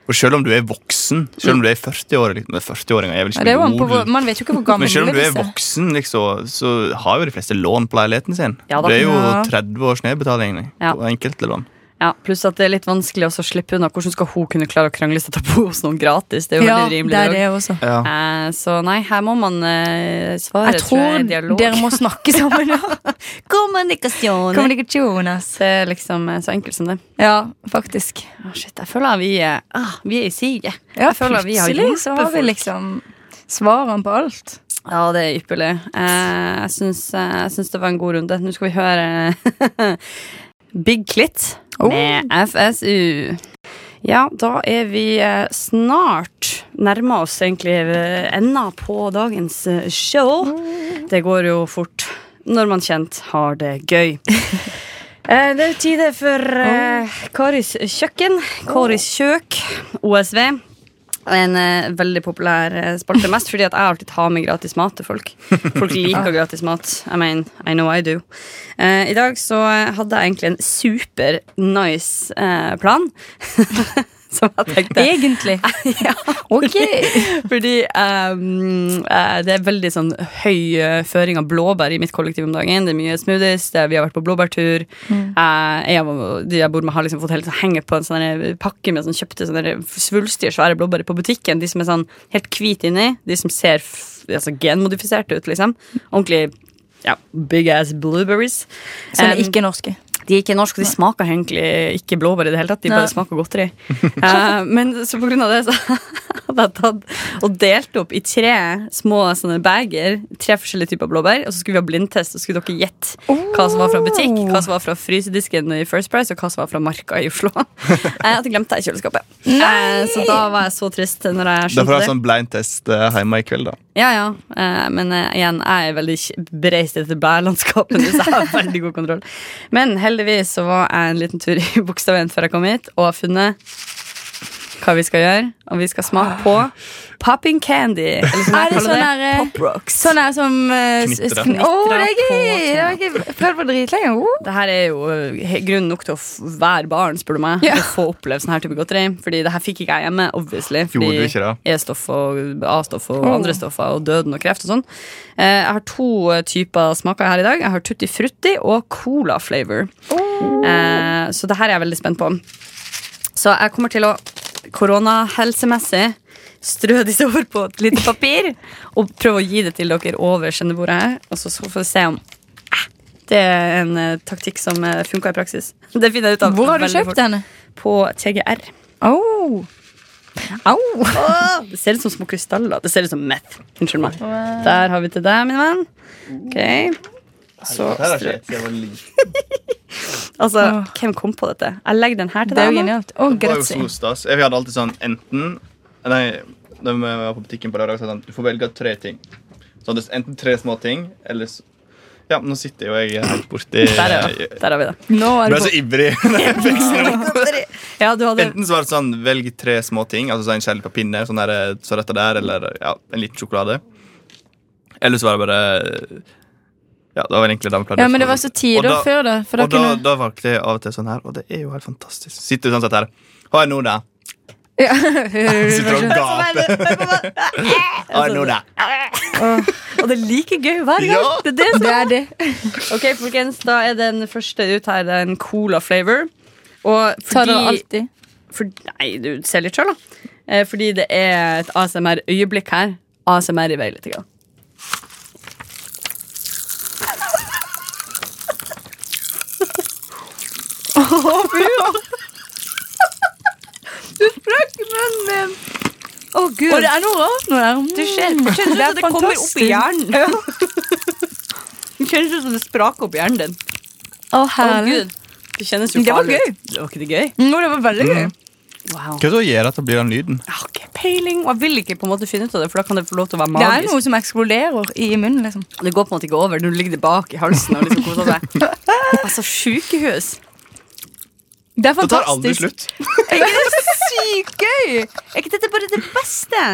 G: Og selv om du er voksen, selv om du er 40 år liksom, 40-åringer er vel
F: Ja,
G: ikke
F: det er jo an på,
G: noe
F: hvor-
G: du-
F: Man vet jo ikke hvor gammel
G: Men selv om du er
F: disse-
G: voksen, liksom, så har jo de fleste lån på leiligheten sin.
E: Ja da.
G: det er jo
F: Ja.
G: 30 års nedbetaling
E: Ja.
G: på enkelte lån.
E: Ja, Pluss at det er litt vanskelig også å slippe unna. Hvordan skal hun kunne klare å krangle seg til å bo hos noen gratis? Det er jo
F: Ja,
E: veldig
F: det
E: urimelig.
F: er det også.
G: Ja.
E: Eh, så nei, her må man eh, svare,
F: Jeg tror
E: jeg. Dialog.
F: dere må snakke sammen. ja.
E: Kommunikasjon.
F: Kommunikasjon, ass.
E: det er liksom eh, så enkelt som det.
F: Ja, faktisk.
E: Å, shit, jeg føler at vi, eh, ah, vi er i siget.
F: Ja,
E: Jeg føler at vi har
F: plutselig så
E: hjulpet
F: har vi
E: folk.
F: liksom svarene på alt.
E: Ja, det er ypperlig. Eh, jeg syns, eh, jeg syns det var en god runde. Nå skal vi høre eh, Big Clit med FSU. Ja, da er vi eh, snart nærma oss egentlig eh, enda på dagens eh, show. Det går jo fort når man kjent har det gøy. Eh, Det er jo tide for eh, Karis kjøkken. Karis kjøk, OSV. En eh, veldig populær eh, spalte. Mest fordi at jeg alltid har med gratis mat til folk. Folk liker gratis mat. I mean, I know I do. Eh, I dag så eh, hadde jeg egentlig en super nice eh, plan. Som jeg tenkte
F: Egentlig.
E: ja.
F: Ok.
E: Fordi ehm, eh, det er veldig sånn høy eh, føring av blåbær i mitt kollektiv om dagen. Det er mye smoothies, det er, vi har vært på blåbærtur.
F: Mm.
E: Eh, jeg og de jeg bor med, har liksom fått helt sånn henge på en sånn der pakke med sånn kjøpte sånne der svulstige, svære blåbær på butikken. De som er sånn helt hvite inni, de som ser f altså, genmodifiserte ut, liksom. Ordentlig ja, big ass blueberries.
F: Som
E: Em,
F: Sånn ikke er norske.
E: de er ikke norske, og de smaker egentlig ikke blåbær i det hele tatt. De
F: Nei.
E: bare smaker godteri. Eh, men så på grunn av det så hadde jeg tatt og delt opp i tre små sånne bager, tre forskjellige typer blåbær, og så skulle vi ha blindtest, og så skulle dere gjette hva som var fra butikk, hva som var fra frysedisken i First Price, og hva som var fra Marka i Oslo. Eh, at jeg glemte det i kjøleskapet. Eh, så da var jeg så trist når jeg
G: Derfor
E: skjønte
G: har
E: det.
G: jeg sånn blind-test eh, hjemme i kveld, da.
E: Ja, ja. eh, Men eh, igjen, jeg er veldig kj- bereist etter bærlandskapene, så jeg har veldig god kontroll. Men heldigvis så var jeg en liten tur i Bogstadveien før jeg kom hit, og har funnet hva vi skal gjøre, og vi skal smake på popping candy. Eller som
F: Er
E: jeg
F: det sånn
E: kaller det.
F: der, eh,
E: Poprocks.
F: Sånn her som eh, s-
G: Knitre.
F: kn- Å, det er
E: Knitre på
F: gøy! Det har jeg ikke prøvd på dritlenge. Oh.
E: Det her er jo eh, he- grunn nok til å f- være barn, spør du meg,
F: Ja.
E: å få oppleve sånn her type godteri. Fordi det her fikk ikke jeg hjemme, obviously.
G: Gjorde du
E: Fordi
G: ikke det?
E: E-stoff og A-stoff og andre stoffer og døden og kreft og sånn. Eh, Jeg har to eh, typer smaker her i dag. Jeg har tutti frutti og cola flavor. Eh, Så det her er jeg veldig spent på. Så jeg kommer til å koronahelsemessig strø disse over på et lite papir og prøve å gi det til dere over skjennebordet her. Og så så får vi se om eh, det er en eh, taktikk som uh, funka i praksis. Det finner jeg ut av
F: Hvor har du
E: veldig
F: kjøpt
E: fort.
F: denne?
E: På TGR.
F: Au! Au!
E: Det ser ut som små krystaller. Det ser ut som meth. Unnskyld meg. Der har vi til deg, min venn. Ok. Så strø. Altså, hvem kom på dette? Jeg legger den her til
F: Det er
E: deg.
F: jo
E: Anna.
F: genialt. Å,
G: Det var jo
F: grazie.
G: så stas. Jeg hadde alltid sånn enten Nei, da vi var på butikken på lørdag, så hadde han, du får velge tre ting. Så hadde jeg enten tre små ting, eller så Ja, nå sitter jo jeg helt borti
E: Der, er det. Der har vi det.
F: Nå
G: Jeg
F: er
G: ble
F: det
G: så ivrig.
E: Ja, du hadde
G: Enten så var det sånn velg tre små ting, altså sånn en kjele på pinne, sånn der, så dette der, eller ja, en liten sjokolade. Eller så var det bare Ja, det var vel egentlig det vi pleide
F: Ja, men det var
G: å-
F: så ti år
G: Og da-
F: før, da. For da
G: og da,
F: kunne
G: da valgte jeg av og til sånn her, og det er jo helt fantastisk. Sitter du sånn sett her. Har jeg nå det?
F: Ja. sånn-
G: Sitter og gaper. Har jeg nå det?
E: Og det er like gøy hver gang.
G: Ja.
E: Det er det som
F: Det er det.
E: Ok, folkens, da er den første ut her Det er en cola flavor Og
F: Tar dere
E: fordi
F: alltid.
E: for, Nei, du ser litt selv da eh, Fordi det er et ASMR-øyeblikk her ASMR i vei litt grann.
F: Å, gud.
E: Og det er noe rart nå der Du kjenner,
F: Mm.
E: kjenner det, det kommer opp i hjernen Du kjenner det som det spraker opp i hjernen din
F: Å,
E: Å
F: herlig.
E: Gud det kjennes jo
F: Det var
E: farlig ut. Det var ikke det gøy
F: Nå, det var veldig gøy.
E: Wow
G: Hva er det som gjør at det blir den lyden?
E: Jeg har ikke peiling Og jeg vil ikke på en måte finne ut av det For da kan det få lov til å være
F: Det er
E: magisk
F: noe som eksploderer i munnen, liksom.
E: Det går på en måte ikke over. Du ligger det bak i halsen og liksom koser deg. Altså, sjukehus.
F: Det er
G: Det tar aldri
F: fantastisk.
G: slutt.
E: Er ikke det sykt gøy? Er ikke dette bare det beste?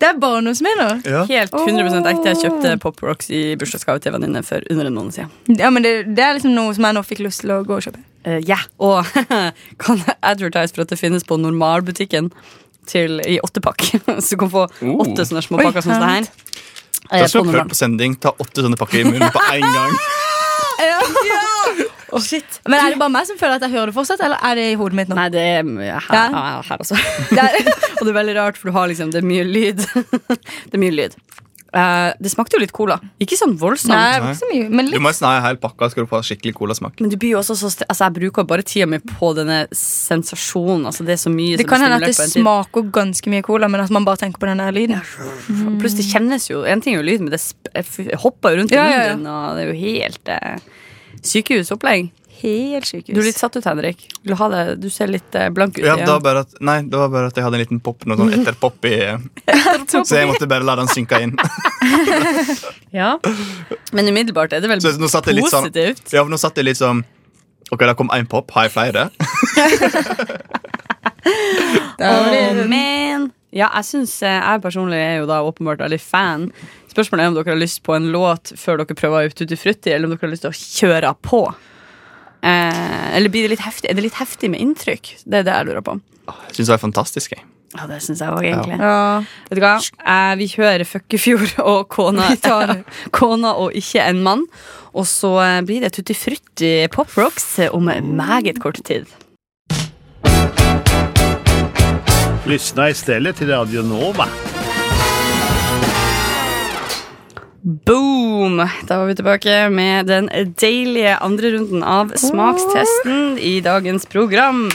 F: Det er barndomsminner.
G: Ja.
E: Helt 100 ekte. Jeg kjøpte Pop Rocks i bursdagsgave til venninne for under en måned siden.
F: Ja, men det, det er liksom noe som jeg nå fikk lyst til å gå og kjøpe.
E: Eh, Ja, og kan jeg advertise for at det finnes på normalbutikken til, i åttepakk. Så du kan få åtte sånne små
F: Oi,
E: pakker som det her.
G: Da
E: eh,
G: skal
E: på
G: vi prøve
E: Normal.
G: på sending. Ta åtte sånne pakker i munnen på en gang.
E: Å, shit.
F: Men er det bare meg som føler at jeg hører det fortsatt, eller er det i hodet mitt nå?
E: Nei, det er ja, her,
F: Ja.
E: her altså. også.
F: Det er,
E: Og det er veldig rart, for du har liksom, det er mye lyd. det er mye lyd. Eh, det smakte jo litt cola. Ikke sånn voldsomt.
F: nei, det var ikke så mye. Men
G: Du
F: litt.
G: må nesten ha en hel pakke skal du få skikkelig colasmak.
E: Men du blir jo også så stre- Altså, jeg bruker bare tida mi på denne sensasjonen. Altså, det er så mye
F: Det
E: som
F: kan
E: er stimulert
F: hende at det
E: på en tid.
F: smaker ganske mye cola, men at man bare tenker på den der lyden.
E: Pluss, det kjennes jo En ting er jo lyd, men det sp- f- hopper jo rundt i
F: Ja, ja, ja.
E: munnen, og det er jo helt eh, sykehusopplegg.
F: Helt sykehus.
E: Du er litt satt ut, Henrik. Vil Du, ha det, du ser litt eh, blank ut.
G: Ja,
E: i
G: da
E: øynene.
G: bare at, nei, det var bare at jeg hadde en liten pop, noe sånn etterpop i Så jeg måtte bare la den synke inn.
E: ja. Men umiddelbart er det vel
G: Så nå satt jeg litt sånn
E: positivt.
G: Ja, for nå satt jeg litt sånn Ok, der kom én pop. Har jeg flere?
E: Åh, men Ja, jeg synes eh, Jeg personlig er jo da åpenbart veldig fan. Spørsmålet er om dere har lyst på en låt før dere prøver ut Tutti Frutti, eller om dere har lyst til å kjøre på. Eh, eller blir det litt heftig? Er det litt heftig med inntrykk? Det er det jeg lurer på.
G: Jeg synes det var fantastisk. Jeg.
E: Ja, det syns jeg òg, egentlig.
F: Ja.
E: Vet du hva? Eh, vi hører Fuckefjord og kona, kona og ikke en mann. Og så eh, blir det Tutti Frutti Pop Rocks om meget kort tid.
I: Lyssna istället till Radio Nova.
E: Boom! Da var vi tilbake med den deilige andre runden av smakstesten i dagens program.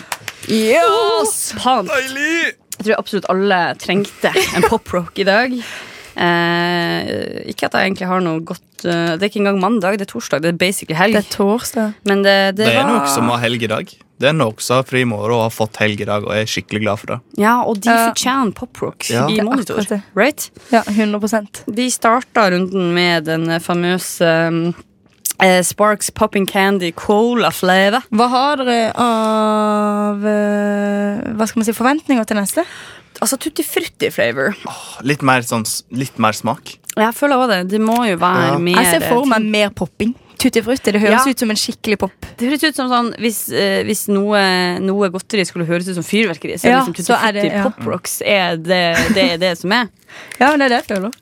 E: Yes! Pant. Jeg tror absolutt alle trengte en poprock i dag. Eh, ikke at jeg egentlig har noe godt eh, Det er ikke engang mandag, det er torsdag. Det er basically helg.
F: Det er torsdag.
E: Men det, det,
G: Det er
E: var
G: noen som har helg i dag. Det er noen som har fri i morgen og har fått helg i dag, og jeg er skikkelig glad for det.
E: Ja, og de
F: Ja.
E: fortjener poprocks
G: Ja.
E: i
G: Det
F: er
E: monitor.
F: akkurat det.
E: Right?
F: Ja, 100
E: Vi starta runden med den famøse um, Eh, Sparks Popping Candy Cola Flavor.
F: Hva har dere av eh, Hva skal man si, forventninger til neste?
E: Altså tutti frutti flavor.
G: Litt mer, sånn, s- litt mer smak.
E: Jeg føler også det. Det må jo være
G: Ja.
E: mer
F: Jeg ser for meg mer popping. Tutti frutti. Det høres
E: Ja.
F: ut som en skikkelig pop.
E: Det høres ut som sånn Hvis, eh, hvis noe, noe godteri skulle høres ut som fyrverkeri, så, er
F: Ja,
E: liksom tutti
F: så er det-
E: frutti
F: ja.
E: Pop Rocks er det, det er det som er.
F: Ja, men det er det jeg føler.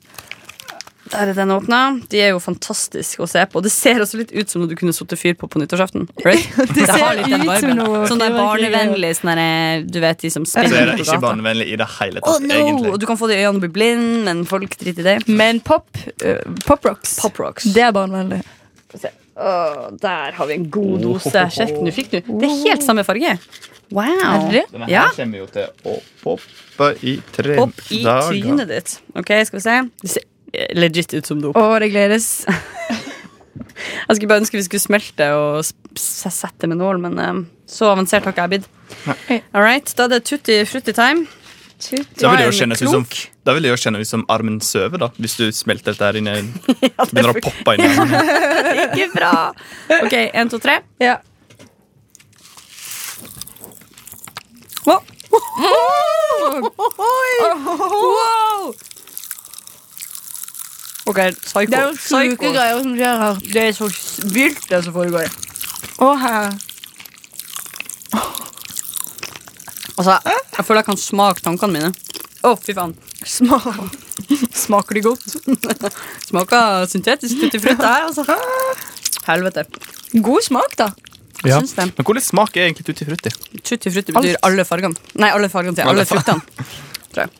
E: Der er den åpna. De er jo fantastiske å se på. Det ser også litt ut som noe du kunne satt fyr på på nyttårsaften. Right? det
F: ser
E: har litt den
F: ut
E: viben.
F: som noe
E: Sånn der
F: fyrverkeri.
E: barnevennlig, sånn der, du vet, de som
G: Så er
E: springer
G: det
E: på
G: ikke
E: gata.
G: barnevennlig i det hele
E: Oh,
G: tatt,
E: no! Og
G: egentlig.
E: du kan få det i øynene og bli blind, men folk driter i det.
F: Men pop, eh, pop rocks,
E: Pop Rocks.
F: Mm. det er barnevennlig.
E: Åh, der har vi en god dose. Sjekk, nå fikk du. Det er helt samme farge. Wow.
F: Er det
G: Denne her
E: Ja.
G: kommer jo til å poppe i tre
E: Opp i
G: dager.
E: trynet ditt. Ok, skal vi se. Det ser eh, legit ut som dop.
F: Å, det gledes.
E: Jeg skulle bare ønske vi skulle smelte og s- s- sette med nål, men eh, så avansert har ikke jeg blitt. All right, da er det tutti frutti time.
G: Da vil det
E: er
G: jo
E: den
G: kjennes ut som,
E: klok.
G: da vil det jo kjennes ut som armen søver, da. Hvis du smelter dette her inne. Begynner å poppe inn i armen.
E: Ikke bra! Ok, en, to, tre.
F: Ja.
E: Wow! wow! Ok, psycho.
F: Det er jo
E: psycho.
F: syke greier som skjer her.
E: Det er så vilt, det som foregår.
F: Å, her.
E: Altså, jeg, jeg føler jeg kan smake tankene mine. Å, fy faen. Smaker de godt? Smaker syntetisk tutti frutti her, altså. Helvete.
F: God smak, da.
E: Jeg syns det.
G: Men hvordan smaker egentlig tutti frutti?
E: Tutti frutti betyr alle fargene. Nei, alle fargene til alle
G: Alle fa-
E: fruktene.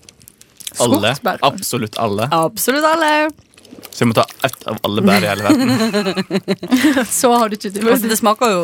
G: Alle.
F: Skogsbær.
G: Absolutt alle.
E: Absolutt alle.
G: Så jeg må ta ett av alle bær i hele verden.
F: Så har du tutti
E: Altså,
F: frutti.
E: det smaker jo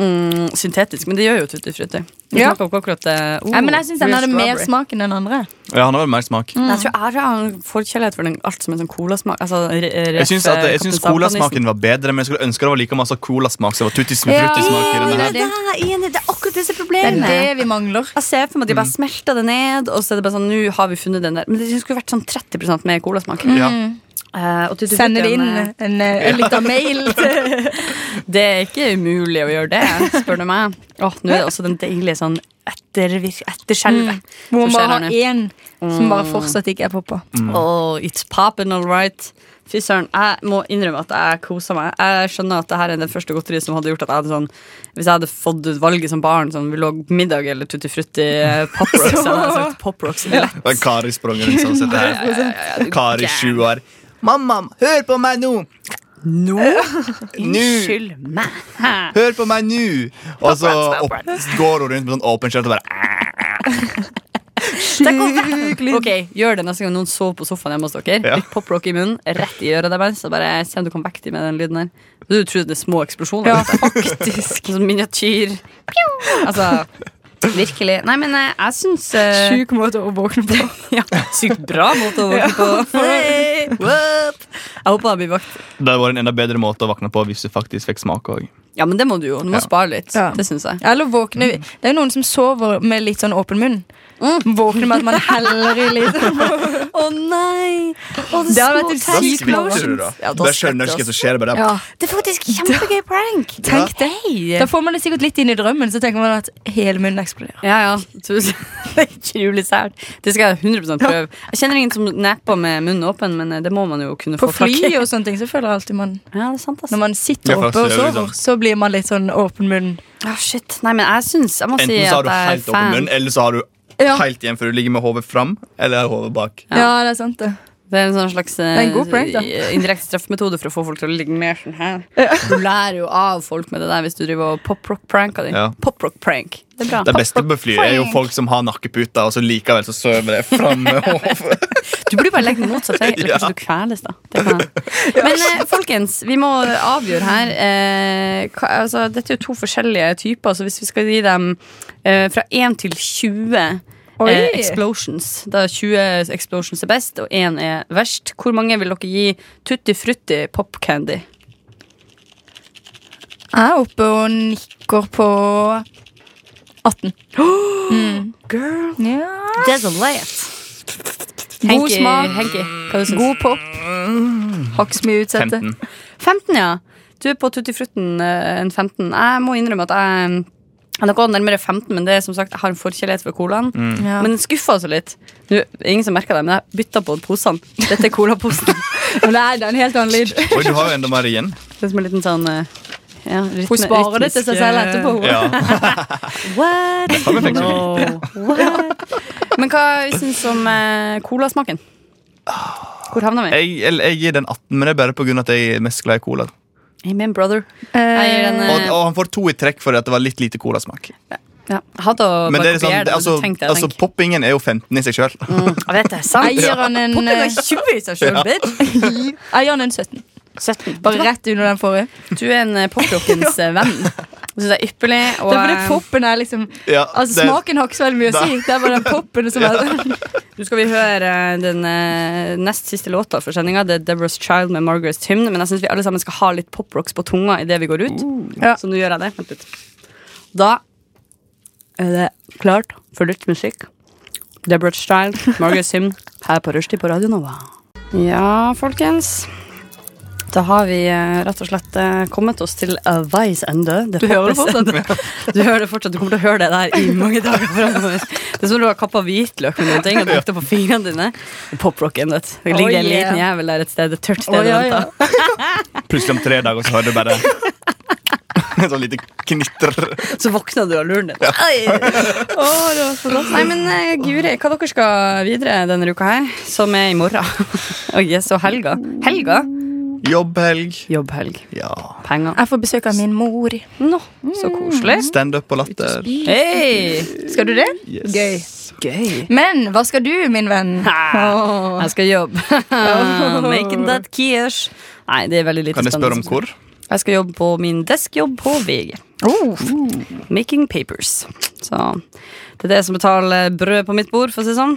E: mm, syntetisk, men det gjør jo tutti frutti. Det
F: Ja.
E: smaker jo ikke akkurat det. Oh,
F: Nei, men jeg syns den
E: real
F: hadde mer
E: strawberry.
F: smak enn den andre.
G: Ja, han har vel mer smak.
E: Jeg tror jeg har en forkjærlighet for den, alt som er sånn colasmak. Altså, re- eh, re-
G: Jeg syns, at, jeg
E: Kaptein
G: syns
E: Sabeltann-nissen.
G: colasmaken var bedre, men jeg skulle ønske det var like masse colasmak som var tutti frutti-smak i denne her.
E: Det er enig, det er akkurat det som er
F: Det
E: problemet.
F: er det vi mangler.
E: Jeg ser for meg at de bare smelter det ned, og så er det bare sånn, nå har vi funnet den der. Men det skulle vært sånn 30 med colasmak.
G: Ja.
E: Eh, og tutti
F: Sender
E: frutti,
F: inn
E: men, eh,
F: en, eh, en liten mail til
E: Det er ikke umulig å gjøre det, spør du meg. Åh, nå er det også den deilige sånn ettervirk...
H: Mm.
E: Etterskjelvet.
F: Hvor
E: som
F: man
E: skjer
F: bare
E: her
F: har
E: nå.
F: én som bare fortsatt ikke er poppa.
E: Oh, it's poppin' all right. Fy søren, jeg må innrømme at jeg koser meg. Jeg skjønner at det her er den første godteriet som hadde gjort at jeg hadde sånn Hvis jeg hadde fått ut valget som barn, sånn vi lå middag eller tutti frutti eh, pop rocks, så hadde jeg sagt pop rocks. lett.
G: Og en Kari sprang rundt sånn sett her. Kari sju år. Mamma, hør på meg nå!
E: Nå,
G: Nå!
E: unnskyld meg. Hæ?
G: Hør på meg nå! Og så
E: Pop
G: opp, går hun rundt med sånn åpen skjørt og bare
E: Ok, gjør det neste gang noen sover på sofaen hjemme hos dere.
G: Ja.
E: Litt poprock i munnen, rett i øret deres. Og bare se om du kan vekke dem med den lyden her. Du tror det er små eksplosjoner? Ja, faktisk. Sånn miniatyr. Altså, virkelig. Nei, men eh, jeg syns eh,
F: Sjuk måte å våkne på.
E: ja, Sykt bra måte å våkne på. Hey, what? Jeg håper jeg blir vakt.
G: Det hadde vært en enda bedre måte å våkne på hvis du faktisk fikk smake òg.
E: Ja, men det må du jo. Du må
G: Ja.
E: spare litt.
F: Ja.
E: Det syns jeg.
F: Eller våkne
E: Mm.
F: Det er jo noen som sover med litt sånn åpen munn. Våkner med at man heller i litt.
E: Å nei!
F: det hadde vært en
E: små
F: syk
E: tiny
F: morgen.
E: motions. Ja, da
G: Da skjønner du
E: skvetter
G: ikke hva som skjer. Bare,
F: Ja.
E: Det er faktisk kjempegøy prank.
F: Tenk det.
E: Hei.
F: Da får man det sikkert litt inn i drømmen, så tenker man at hele munnen eksploderer.
E: Ja, ja. Tusen. Det er utrolig sært. Det skal jeg 100 prøve. Jeg kjenner ingen som napper med munnen åpen, men eh, det må man jo kunne
F: På
E: få tak i.
F: fly og sånne ting så føler jeg alltid man
E: Ja, det er sant, ass.
F: Når man sitter
G: Ja, for
F: oppe og
G: det liksom- er jo litt
F: sover, så blir man litt sånn åpen munn.
E: Ah, shit. Nei, men jeg syns Jeg må si
G: Enten
E: at
G: så har du
E: jeg er
G: helt åpen
E: fan.
G: munn, eller så har du
F: Ja.
G: helt igjen før du ligger med hodet fram eller hodet bak.
E: Ja.
F: Ja, det er sant, det.
E: Det er en sånn slags eh,
F: Det er en god prank, da.
E: indirekte straffemetode for å få folk til å ligge mer sånn her. Du lærer jo av folk med det der hvis du driver og pop-rock-pranker dem.
G: Ja.
E: Pop-rock-prank. Det er bra.
G: Det beste på fly er jo folk som har nakkeputer, og så likevel så sover de framme.
E: Du burde bare legge den motsatt vei, eller kanskje du kveles, da. Det kan jeg. Men eh, folkens, vi må avgjøre her. Eh, hva, altså, dette er jo to forskjellige typer, så hvis vi skal gi dem eh, fra 1 til 20
F: Oi.
E: eh, explosions, da 20 explosions er best, og 1 er verst, hvor mange vil dere gi tutti frutti pop candy?
F: Jeg er oppe og nikker på 18.
E: Girl,
F: Ja.
E: desolate.
F: God
E: Henki,
F: smak.
E: Henki, hva du syns
F: God pop. Hakk så mye utsette.
G: 15.
E: 15, ja. Du er på tuttifrutten eh, en 15. Jeg må innrømme at jeg jeg har gått nærmere 15, men det er som sagt, jeg har en forkjærlighet for colaen.
G: Mm.
F: Ja.
E: Men den skuffa også litt. Nå, ingen som merker det, men jeg bytta på posene. Dette er colaposen. Og det er det er en helt annen lyd.
G: Oi, du har jo enda mer igjen.
E: Det er som en liten sånn eh, ja, rytme,
F: Hun sparer det til
E: rytmisk,
F: seg selv
E: eh,
F: etterpå, hun.
G: Ja.
E: What?
G: kan vi fikse.
E: No. What? Men hva syns du om eh, colasmaken? Hvor havna vi?
G: Jeg, eller, jeg gir den 18, men det er bare pga. at jeg er mest glad i cola.
E: Amen, brother. Jeg gir den,
F: Eh,
G: Og,
E: eh,
G: og han får to i trekk fordi at det var litt lite colasmak.
E: ja. Hadde å
G: Men
E: bare
G: det er sånn,
E: kopiere det,
G: altså,
E: men så tenkte jeg
G: altså
E: tenk.
G: poppingen er jo 15 i seg sjøl.
E: Mm, Jeg vet det,
F: jeg
E: sant?
F: gir han en
E: Popping
F: eh,
E: er 20 i seg sjøl, bitch.
F: Jeg gir han en 17.
E: 17.
F: Bare rett under den forrige.
E: Du er en eh, popklokkens eh, venn. Det syns jeg er ypperlig. Og,
F: det er fordi
E: eh,
F: poppen er liksom
G: Ja,
F: Altså
G: det-
F: Smaken har ikke så veldig mye å si. Det er bare den poppen som er
E: Nå skal vi høre eh, den eh, nest siste låta for sendinga. Det er Deborah's Child med Margaret's Hymn. Men jeg syns vi alle sammen skal ha litt poprocks på tunga idet vi går ut. Uh.
F: Ja.
E: Så nå gjør jeg det. Vent litt. Da er det klart for litt musikk. Deborah's Child, Margaret's Hymn, her på Rushdie på Radio Nova. Ja, folkens. Da har vi eh, rett og slett eh, kommet oss til eh, veis ende. Det
F: Du hører det
E: poppes
F: fortsatt?
E: ende. Du hører det fortsatt. Du kommer til å høre det der i mange dager fremover. Det er som om du har kappa hvitløk med noen ting og drukket det på fingrene dine. Poprocken, vet du. Det ligger
F: Oi,
E: en
F: yeah.
E: liten jævel der et sted, et tørt sted,
F: Oi,
E: og
F: oi, oi.
E: venter.
G: Plutselig om tre dager så hører du bare en sånn lite knitrer.
E: Så våkna du av luren din. Oi! Å, det var fantastisk. Nei, men eh, Guri, hva dere skal videre denne uka her, som er i morgen? Og yes, og helga. Helga?
G: Jobbhelg.
E: Jobbhelg.
G: Ja.
E: Penger.
F: Jeg får besøk av min mor.
E: Nå, så koselig.
G: Standup og latter.
F: Mm.
E: Hei!
F: Skal du det?
G: Yes.
F: Gøy.
E: Gøy.
F: Men hva skal du, min venn? Åh.
E: Ah, Jeg skal jobbe. Making that cash. Nei, det er veldig lite
G: Kan jeg spørre om
E: spennende.
G: hvor?
E: Jeg skal jobbe på min deskjobb på VG.
F: Oh.
E: Making papers. Så det er det som betaler brød på mitt bord, for å si det sånn.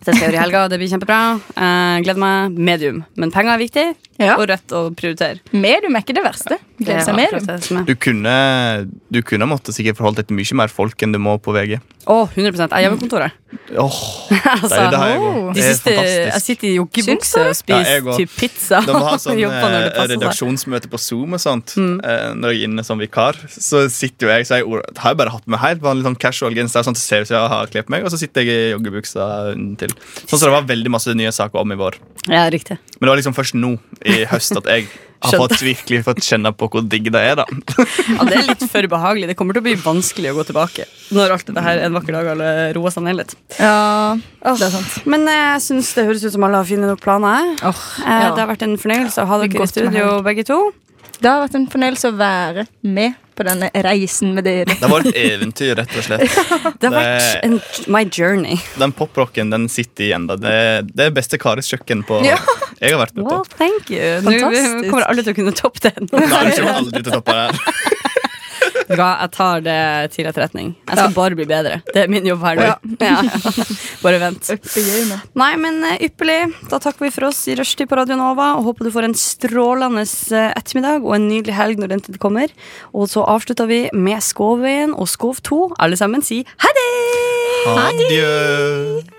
E: Så Det skal jeg gjøre i helga, det blir kjempebra. Eh, gleder meg. Medium. Men penger er viktig,
F: Ja.
E: og rødt å prioritere.
F: Medium er ikke det verste. Gleder seg medium.
E: akkurat det som er.
G: Du kunne, du kunne måtte sikkert forholdt deg til mye mer folk enn du må på VG.
E: Å, 100 Jeg jobber i kontoret.
G: Åh, det,
E: Altså,
G: er- det har jeg òg.
E: de
G: Det er
E: siste, jeg
G: fantastisk.
E: sitter i joggebukse og
G: Ja,
E: spiser
G: jeg går.
E: typ pizza.
G: De har sånn
E: og jobber når det
G: eh,
E: passer seg. Mm.
G: redaksjonsmøte på Zoom og sånt. Eh, Når jeg er inne som vikar, så sitter jo jeg så jeg or- har jeg bare hatt med helt vanlig sånn casual genser, sånn at det ser ut som jeg har klept meg, og så sitter jeg i joggebuksa til. Sånn som det var veldig masse nye saker om i vår.
E: Ja, riktig.
G: Men det var liksom først nå i høst at jeg har
E: Skjønte.
G: fått, virkelig fått kjenne på hvor digg det er. da
E: Ja, det er litt for behagelig. Det kommer til å bli vanskelig å gå tilbake når alt dette her en vakker dag alle roer seg ned litt.
F: Ja,
E: det er sant. Men eh, jeg synes det høres ut som alle har fine nok planer. Eh,
F: ja.
E: Det har vært en fornøyelse å ha
F: Det er
E: dere i
F: godt med
E: studio, begge to.
F: Det har vært en fornøyelse å være med på denne reisen med dere.
G: Det var et eventyr, rett og slett.
E: Det har vært en, my journey.
G: Den poprocken den sitter igjen. da Det, det er beste Karis kjøkken på
F: Ja.
G: jeg har vært med på.
E: Well, thank you. Nå
F: Fantastisk.
E: kommer alle til å kunne toppe den.
G: Nei, du kommer aldri til å toppe det her.
E: Ja, jeg tar det til etterretning. Jeg skal bare bli bedre. Det er min jobb her nå. Ja. Bare vent. Nei, men eh, ypperlig. Da takker vi for oss i rushtid på Radio Nova. Og håper du får en strålende eh, ettermiddag og en nydelig helg når den tid kommer. Og så avslutter vi med Skov 1 og Skov 2. Alle sammen si ha det!
G: Adjø.